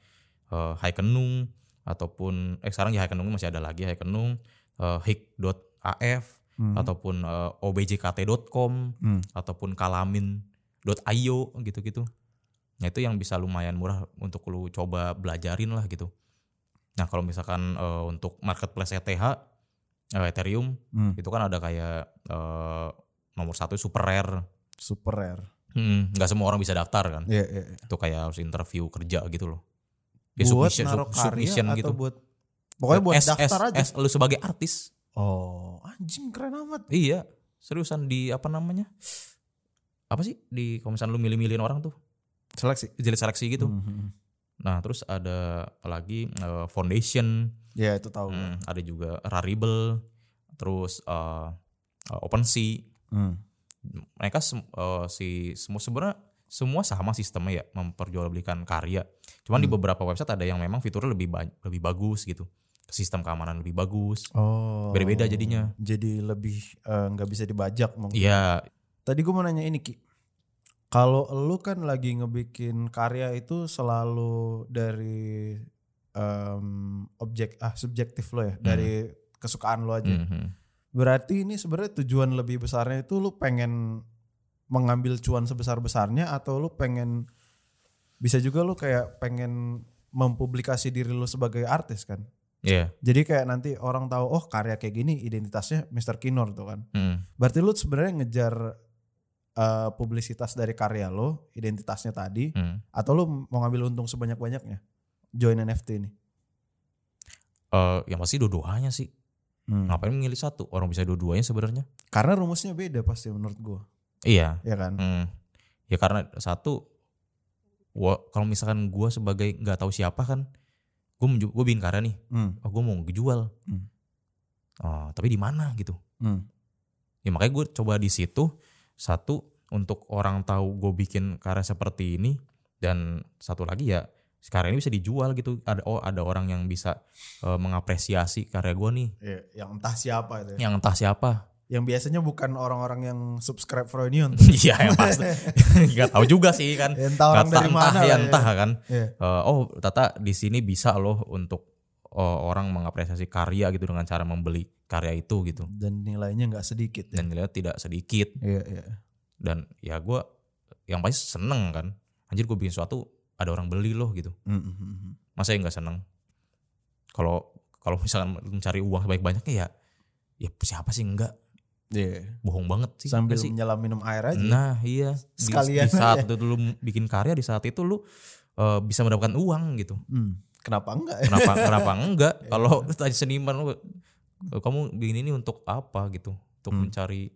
eh, Haikenung ataupun eh sekarang ya Haikenung masih ada lagi Haikenung, eh, hik.af
Hmm.
ataupun eh, objkt.com
Hmm.
ataupun kalamin.io gitu-gitu. Nah, itu yang bisa lumayan murah untuk lu coba belajarin lah gitu. Nah, kalau misalkan eh, untuk marketplace ETH eh, Ethereum
Hmm.
itu kan ada kayak eh, nomor satu super rare
Super rare.
Hmm, nggak semua orang bisa daftar kan
Iya, iya. iya.
itu kayak harus interview kerja gitu loh
buat
submission-
naruh
sub-
karya
submission gitu.
atau buat pokoknya buat
S-
daftar
S-
aja.
S- lu sebagai artis
Oh, anjing keren amat.
iya seriusan di apa namanya apa sih di kalau misalnya lu milih-milihin orang tuh
Seleksi
jeli seleksi gitu
itu.
nah terus ada lagi eh, foundation
Ya, itu tahu.
hmm, ada juga rarible terus eh, eh, OpenSea
Hmm.
mereka sem- eh, si semua sebenarnya semua sama sistemnya ya memperjualbelikan karya. Cuman di
Hmm.
beberapa website ada yang memang fiturnya lebih ba- lebih bagus gitu. Sistem keamanan lebih bagus.
Oh.
Beda-beda jadinya.
Jadi lebih eh, nggak bisa dibajak mungkin.
Iya,
Tadi gue mau nanya ini Ki. Kalau lu kan lagi ngebikin karya itu selalu dari em, objek ah subjektif lo ya,
Hmm.
dari kesukaan lo aja.
mhm.
Berarti ini sebenarnya tujuan lebih besarnya itu lu pengen mengambil cuan sebesar-besarnya atau lu pengen bisa juga lu kayak pengen mempublikasi diri lu sebagai artis kan.
iya.
Jadi kayak nanti orang tahu oh karya kayak gini identitasnya Mr. Kinor tuh kan.
mhm.
Berarti lu sebenarnya ngejar eh, publisitas dari karya lo, identitasnya tadi,
Hmm.
atau lu mau ngambil untung sebanyak-banyaknya? Join NFT ini.
Eh, yang pasti dua-duanya sih. Ngapain memilih satu? Orang bisa dua-duanya sebenarnya.
Karena rumusnya beda pasti menurut gua,
Iya.
ya kan?
Hmm. Ya karena satu wa- kalau misalkan gua sebagai nggak tahu siapa kan gue gue bikin karya nih.
Hmm.
Oh, gue mau jual.
Hmm.
Oh, tapi di mana gitu?
Hmm.
ya makanya gue coba di situ satu untuk orang tahu gue bikin karya seperti ini dan satu lagi ya karya ini bisa dijual gitu ada oh ada orang yang bisa eh, mengapresiasi karya gue nih
Ya, yang entah siapa itu. Ya.
yang entah siapa
Yang biasanya bukan orang-orang yang subscribe Freudian.
iya yang pasti nggak tahu juga sih kan
entah
Nggak
orang
entah
dari
entah
mana.
ya
lah ya.
entah kan
Iya.
Eh, oh tata di sini bisa loh untuk eh, orang mengapresiasi karya gitu dengan cara membeli karya itu gitu
Dan nilainya nggak sedikit. Ya.
dan nilainya tidak sedikit
Iya, iya.
dan ya gue yang pasti seneng kan anjir gue bikin sesuatu ada orang beli loh gitu
Mm, mm, mm, mm.
masa yang nggak seneng kalau kalau misalkan mencari uang sebanyak banyaknya ya ya siapa sih enggak
Iya.
bohong banget sih
Sambil
nggak sih?
menyelam minum air aja.
nah iya Di-
Sekalian
di, saat
aja.
itu lu bikin karya di saat itu lu eh, bisa mendapatkan uang gitu
Hmm. Kenapa enggak?
kenapa kenapa enggak kalau tadi seniman lu Kalau kamu begini ini untuk apa gitu? Untuk
Hmm.
mencari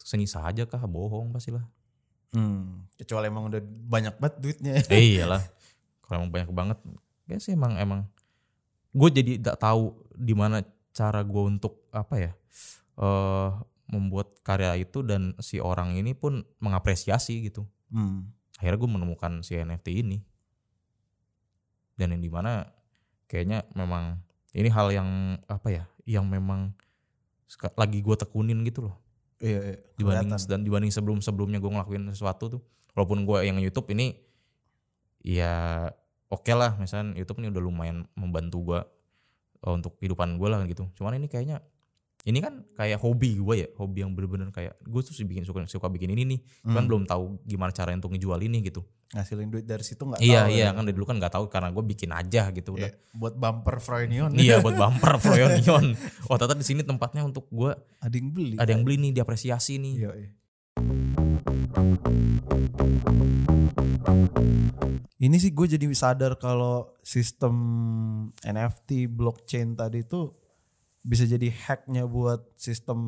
seni saja kah? Bohong pastilah.
Hmm. Kecuali emang udah banyak banget duitnya.
Eh, iyalah. Kalau emang banyak banget, ya sih emang emang. Gue jadi tidak tahu di mana cara gue untuk apa ya eh membuat karya itu dan si orang ini pun mengapresiasi gitu.
Hmm.
akhirnya gue menemukan si NFT ini dan yang dimana kayaknya memang ini hal yang apa ya yang memang seka- lagi gue tekunin gitu loh
Iya, iya.
dibanding
kelihatan.
dan dibanding sebelum sebelumnya gue ngelakuin sesuatu tuh walaupun gue yang YouTube ini ya oke lah misalnya YouTube ini udah lumayan membantu gue untuk kehidupan gue lah gitu cuman ini kayaknya ini kan kayak hobi gue ya hobi yang bener-bener kayak gue tuh sih bikin suka suka bikin ini nih cuman
Hmm.
belum tahu gimana cara untuk ngejual ini gitu
ngasilin duit dari situ nggak
Iya
tahu
iya
ya.
kan dari dulu kan nggak tahu karena gue bikin aja gitu
Iya,
udah.
buat bumper Froynion
Iya buat bumper Froyonion. Oh ternyata di sini tempatnya untuk gue
ada yang beli
ada yang beli nih diapresiasi nih.
Iya, iya. ini sih gue jadi sadar kalau sistem NFT blockchain tadi itu bisa jadi hacknya buat sistem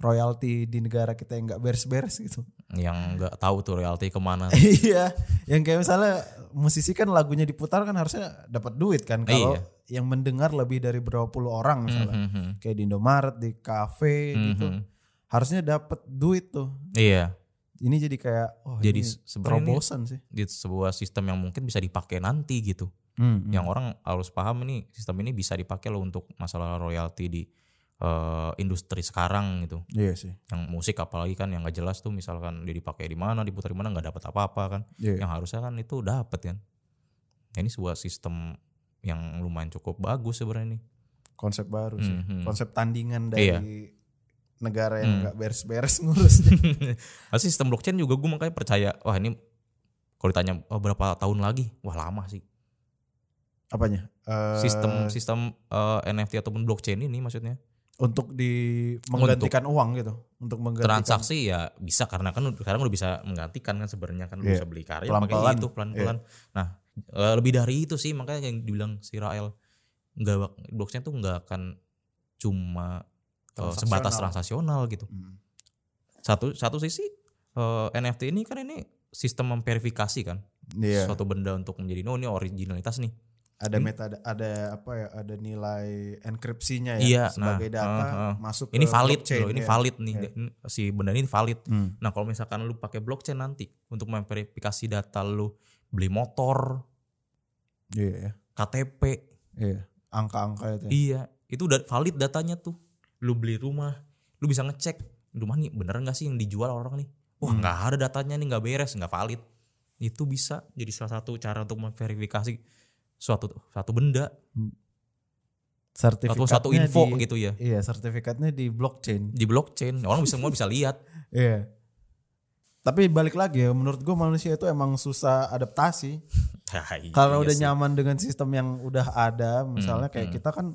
royalti di negara kita yang nggak beres-beres gitu
Yang nggak tahu tuh royalti kemana.
Iya, yang kayak misalnya musisi kan lagunya diputar kan harusnya dapat duit kan kalau
Iya.
yang mendengar lebih dari berapa puluh orang misalnya.
Mhm.
Kayak di Indomaret, di kafe gitu.
Mhm.
Harusnya dapat duit tuh.
Iya.
Ini jadi kayak oh
Jadi
ini
se- sebenarnya ini
terobosan sih.
di sebuah sistem yang mungkin bisa dipakai nanti gitu.
Hmm.
Yang orang harus paham ini sistem ini bisa dipakai loh untuk masalah royalti di eh, industri sekarang gitu.
Iya sih.
Yang musik apalagi kan yang nggak jelas tuh misalkan dia dipakai di mana, diputar di mana nggak dapat apa-apa kan.
Iya.
yang harusnya kan itu dapat kan Ya, ini sebuah sistem yang lumayan cukup bagus sebenarnya nih
Konsep baru sih.
Mhm.
ya, Konsep tandingan dari
Iya.
negara yang
Hmm.
nggak beres-beres ngurus.
Nah, sistem blockchain juga gue makanya percaya wah ini kalau ditanya oh, berapa tahun lagi wah lama sih
Apanya? Eh,
sistem sistem eh, NFT ataupun blockchain ini maksudnya
untuk di menggantikan uang gitu, untuk menggantikan
transaksi ya bisa karena kan sekarang udah bisa menggantikan kan sebenarnya kan lu
Iya.
bisa beli karya
Pelan-pelan. Iya.
makanya itu pelan-pelan nah eh, lebih dari itu sih makanya yang dibilang si Rael nggak bak- blockchain tuh nggak akan cuma eh, sebatas transaksional gitu
Hmm.
satu satu sisi eh, NFT ini kan ini sistem memverifikasi kan
Iya.
suatu benda untuk menjadi oh ini originalitas nih
ada
Ini-
meta ada apa ya ada nilai enkripsinya ya
Iya,
sebagai
nah,
data
heeh, heeh.
masuk
ini
ke
valid
blockchain,
loh ini
ya.
valid nih
Iya.
Ini- si benda ini valid
Hmm.
nah kalau misalkan lu pakai blockchain nanti untuk memverifikasi data lu beli motor
iya ya.
KTP
iya angka-angka itu ya.
iya itu udah valid datanya tuh lu beli rumah lu bisa ngecek rumah nih bener nggak sih yang dijual orang nih wah
Hmm.
nggak ada datanya nih nggak beres nggak valid itu bisa jadi salah satu cara untuk memverifikasi suatu satu benda atau
sertifikatnya
satu info
di,
gitu ya
iya sertifikatnya di blockchain
di blockchain orang bisa semua bisa lihat
iya tapi balik lagi ya menurut gue manusia itu emang susah adaptasi
Ya, iya
kalau udah nyaman dengan sistem yang udah ada misalnya
Hmm,
kayak
hmm.
kita kan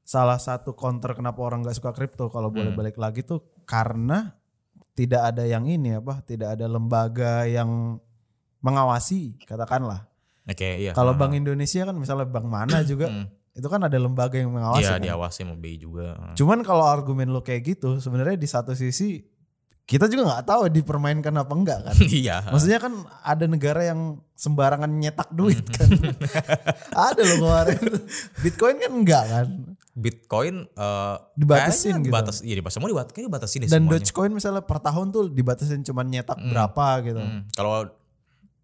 salah satu counter kenapa orang nggak suka kripto kalau boleh
Hmm.
balik lagi tuh karena tidak ada yang ini apa tidak ada lembaga yang mengawasi katakanlah
oke iya
kalau bank Indonesia kan misalnya bank mana juga
Hmm.
itu kan ada lembaga yang mengawasi
iya
kan.
diawasi sama BI juga
cuman kalau argumen lo kayak gitu sebenarnya di satu sisi kita juga nggak tahu dipermainkan apa enggak kan
iya
Maksudnya kan ada negara yang sembarangan nyetak duit
Hmm.
kan. ada loh kemarin. Bitcoin kan enggak kan.
Bitcoin eh, kayaknya
Dibatasin gitu.
dibatas iya dibatas semua dibat kayaknya dibatasin deh
Dan
semuanya.
Dogecoin misalnya per tahun tuh dibatasin cuman nyetak
Hmm.
berapa gitu.
Hmm, kalau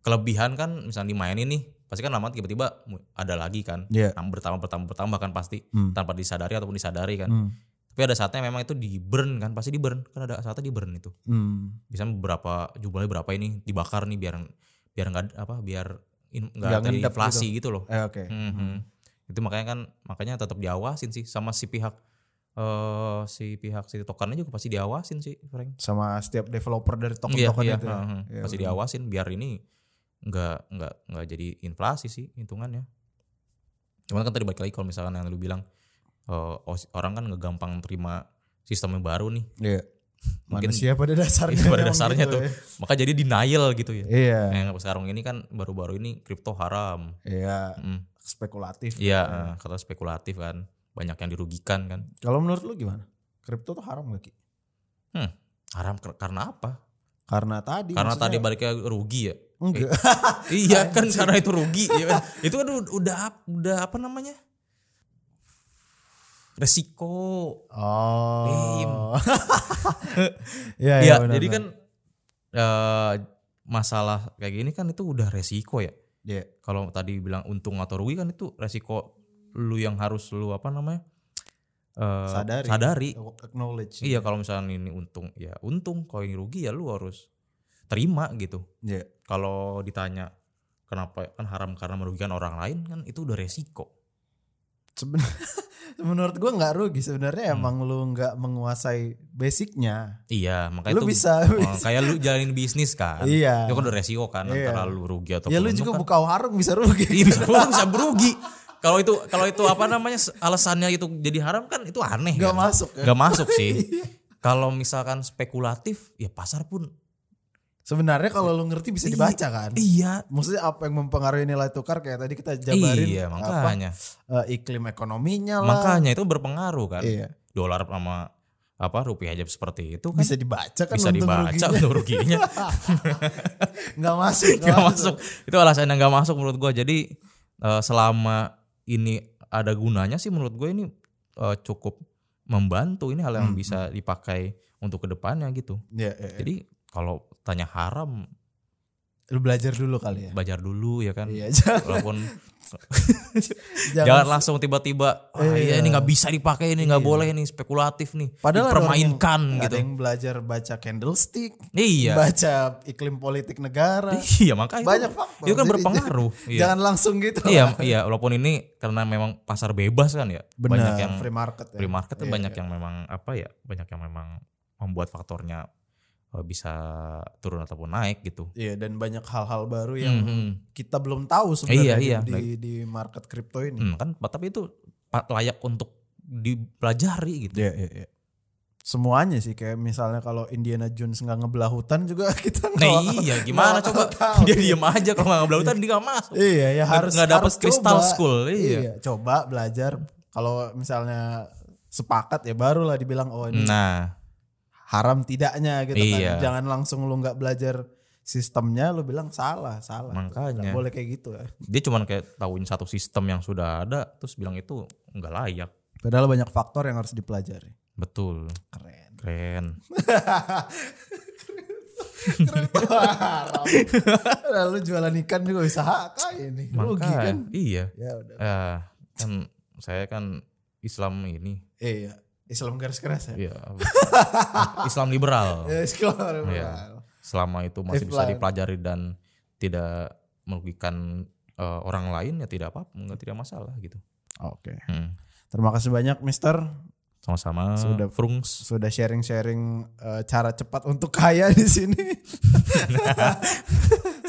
kelebihan kan misalnya dimainin nih pasti kan lama tiba-tiba mu- ada lagi kan
Iya.
Nah, bertambah bertambah bertambah kan pasti
Hmm.
tanpa disadari ataupun disadari kan
Hmm.
tapi ada saatnya memang itu di burn kan pasti di burn kan ada saatnya di burn itu
Hmm.
bisa berapa jumlahnya berapa ini dibakar nih biar biar nggak ada- apa biar in- nggak
Nggak
ada
ngendap
inflasi gitu, loh
Eh, oke.
Mhm. itu makanya kan makanya tetap diawasin sih sama si pihak eh si pihak si tokennya juga pasti diawasin sih Frank
Sama setiap developer dari
Iya,
token-token
iya,
itu. ya.
heeh.
Iya,
pasti
benar.
diawasin biar ini nggak nggak nggak jadi inflasi sih hitungannya cuman kan tadi balik lagi kalau misalkan yang lu bilang eh, os- orang kan ngegampang terima sistem yang baru nih
Iya.
Mungkin-
Manusia pada dasarnya.
Iya, pada
memang
dasarnya
gitu
tuh.
ya.
maka jadi denial gitu ya
Iya.
yang sekarang ini kan baru-baru ini kripto haram
Iya,
Mm.
spekulatif.
iya eh, kata spekulatif kan banyak yang dirugikan kan
Kalau menurut lu gimana? Kripto tuh haram gak Ki?
haram ker- karena apa
Karena tadi.
karena tadi
Iya, maksudnya-
baliknya rugi ya
Enggak.
iya kan karena itu rugi ya kan? itu kan ud- udah ap- udah apa namanya resiko
Oh. Iya,
ya,
iya. benar,
jadi
benar.
kan eh, masalah kayak gini kan itu udah resiko ya
Iya.
kalau tadi bilang untung atau rugi kan itu resiko lu yang harus lu apa namanya eh,
Sadari.
sadari.
Acknowledge.
Iya kalau misalnya ini untung ya untung kalau ini rugi ya lu harus terima gitu.
Iya.
Kalau ditanya kenapa kan haram karena merugikan orang lain kan itu udah resiko.
Seben- menurut gua nggak rugi
Hmm.
sebenarnya emang lu nggak menguasai basicnya.
Iya makanya
lu
itu
bisa.
oh, kayak lu jalanin bisnis kan.
Iya.
Itu kan udah resiko kan
Iya.
antara lu rugi atau
Ya lu
beruntung
juga
kan.
buka warung bisa rugi.
Iya, bisa beruntung, bisa berugi. Kalau itu kalau itu apa namanya se- alasannya itu jadi haram kan itu aneh. kan?
Gak masuk ya.
Nggak masuk sih. Kalau misalkan spekulatif ya pasar pun
Sebenarnya kalau lu ngerti bisa
Iya.
dibaca kan.
iya.
Maksudnya apa yang mempengaruhi nilai tukar kayak tadi kita jabarin
iya
apa,
makanya.
eh, iklim ekonominya lah.
Makanya itu berpengaruh kan.
Iya.
Dolar sama apa rupiah aja seperti itu kan bisa,
Bisa dibaca kan untung
dibaca
ruginya.
untuk ruginya
Nggak masuk.
nggak masuk. Itu alasan yang nggak masuk menurut gua. Jadi eh, selama ini ada gunanya sih menurut gue ini eh, cukup membantu. Ini hal yang
Hmm,
bisa dipakai untuk kedepannya gitu.
Iya, iya, iya.
Jadi kalau tanya haram
Lu belajar dulu kali ya.
belajar dulu ya kan.
Iya, jangan,
Walaupun
jangan-
jangan langsung tiba-tiba "Wah, iya
Iya.
ini nggak bisa dipakai ini nggak
Iya.
boleh ini spekulatif nih
Padahal ada orang yang-
dipermainkan
nggak
gitu
Ada yang belajar baca candlestick,
iya
baca iklim politik negara.
Iya makanya itu-
Banyak faktor.
Itu kan
Jadi,
berpengaruh. iya.
Jangan langsung gitu.
iya, iya. Walaupun ini karena memang pasar bebas kan ya.
Benar,
banyak yang
free market. ya.
free market tuh
Iya,
banyak
iya.
yang memang apa ya? Banyak yang memang membuat faktornya eh, bisa turun ataupun naik gitu.
Iya, dan banyak hal-hal baru yang hmm.
Mhm.
kita belum tahu sebenarnya
Iya, iya.
di, di market kripto ini.
Hmm, kan tapi itu pa- layak untuk dipelajari gitu.
Iya, iya, iya. Semuanya sih kayak misalnya kalau Indiana Jones nggak ngebelah hutan juga kita
Nah
nggak-
iya gimana
nggak
coba
tahu.
dia diem aja kalau nggak ngebelau tadi dia nggak masuk.
Iya, ya
Nggak-
harus
nggak dapet
harus
Crystal
coba.
School, iya.
coba belajar. Kalau misalnya sepakat ya barulah dibilang oh ini
Nah
haram tidaknya gitu
Iya.
kan. Jangan langsung lu nggak belajar sistemnya lu bilang salah, salah.
Makanya.
Nggak boleh kayak gitu ya.
dia cuman kayak tahuin satu sistem yang sudah ada terus bilang itu nggak layak.
Padahal banyak faktor yang harus dipelajari.
Betul.
Keren.
Keren.
Keren tuh, haram. Lalu jualan ikan juga bisa hak ah, ini. Rugi
Makanya,
kan.
Iya.
Ya udah.
Eh, kan saya kan Islam ini.
Eh, iya. Islam garis keras ya.
Iya. apa? Islam liberal.
Eh, sekolah.
Iya. Selama itu masih bisa
Islam.
dipelajari dan tidak merugikan eh, orang lain ya tidak apa nggak tidak masalah gitu.
Oke.
Hmm.
Terima kasih banyak Mister
Sama-sama.
Sudah.
Frungs.
sudah sharing-sharing eh, cara cepat untuk kaya di sini.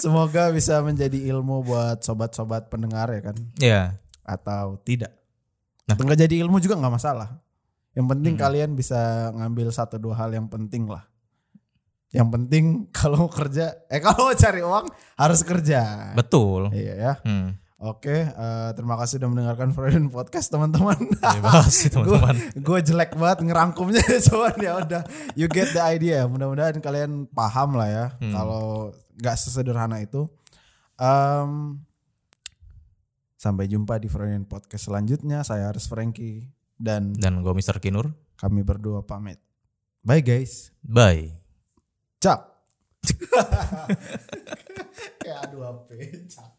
Semoga bisa menjadi ilmu buat sobat-sobat pendengar ya kan
Ya.
atau tidak. Atau nggak jadi ilmu juga nggak masalah. Yang penting kalian bisa ngambil satu dua hal yang penting lah. Yang penting kalau mau kerja, eh kalau mau cari uang harus kerja.
Betul.
Iya ya.
Hmm.
Oke, eh, terima kasih sudah mendengarkan Freudian Podcast teman-teman.
Bebas sih, teman-teman.
gue jelek banget ngerangkumnya cuman ya udah you get the idea mudah-mudahan kalian paham lah ya
Hmm.
kalau nggak sesederhana itu Em, sampai jumpa di Freudian Podcast selanjutnya saya Aris Frankie dan
Dan gue Mr. Kinur.
kami berdua pamit bye guys
Bye.
cap kayak aduh ya? HP cap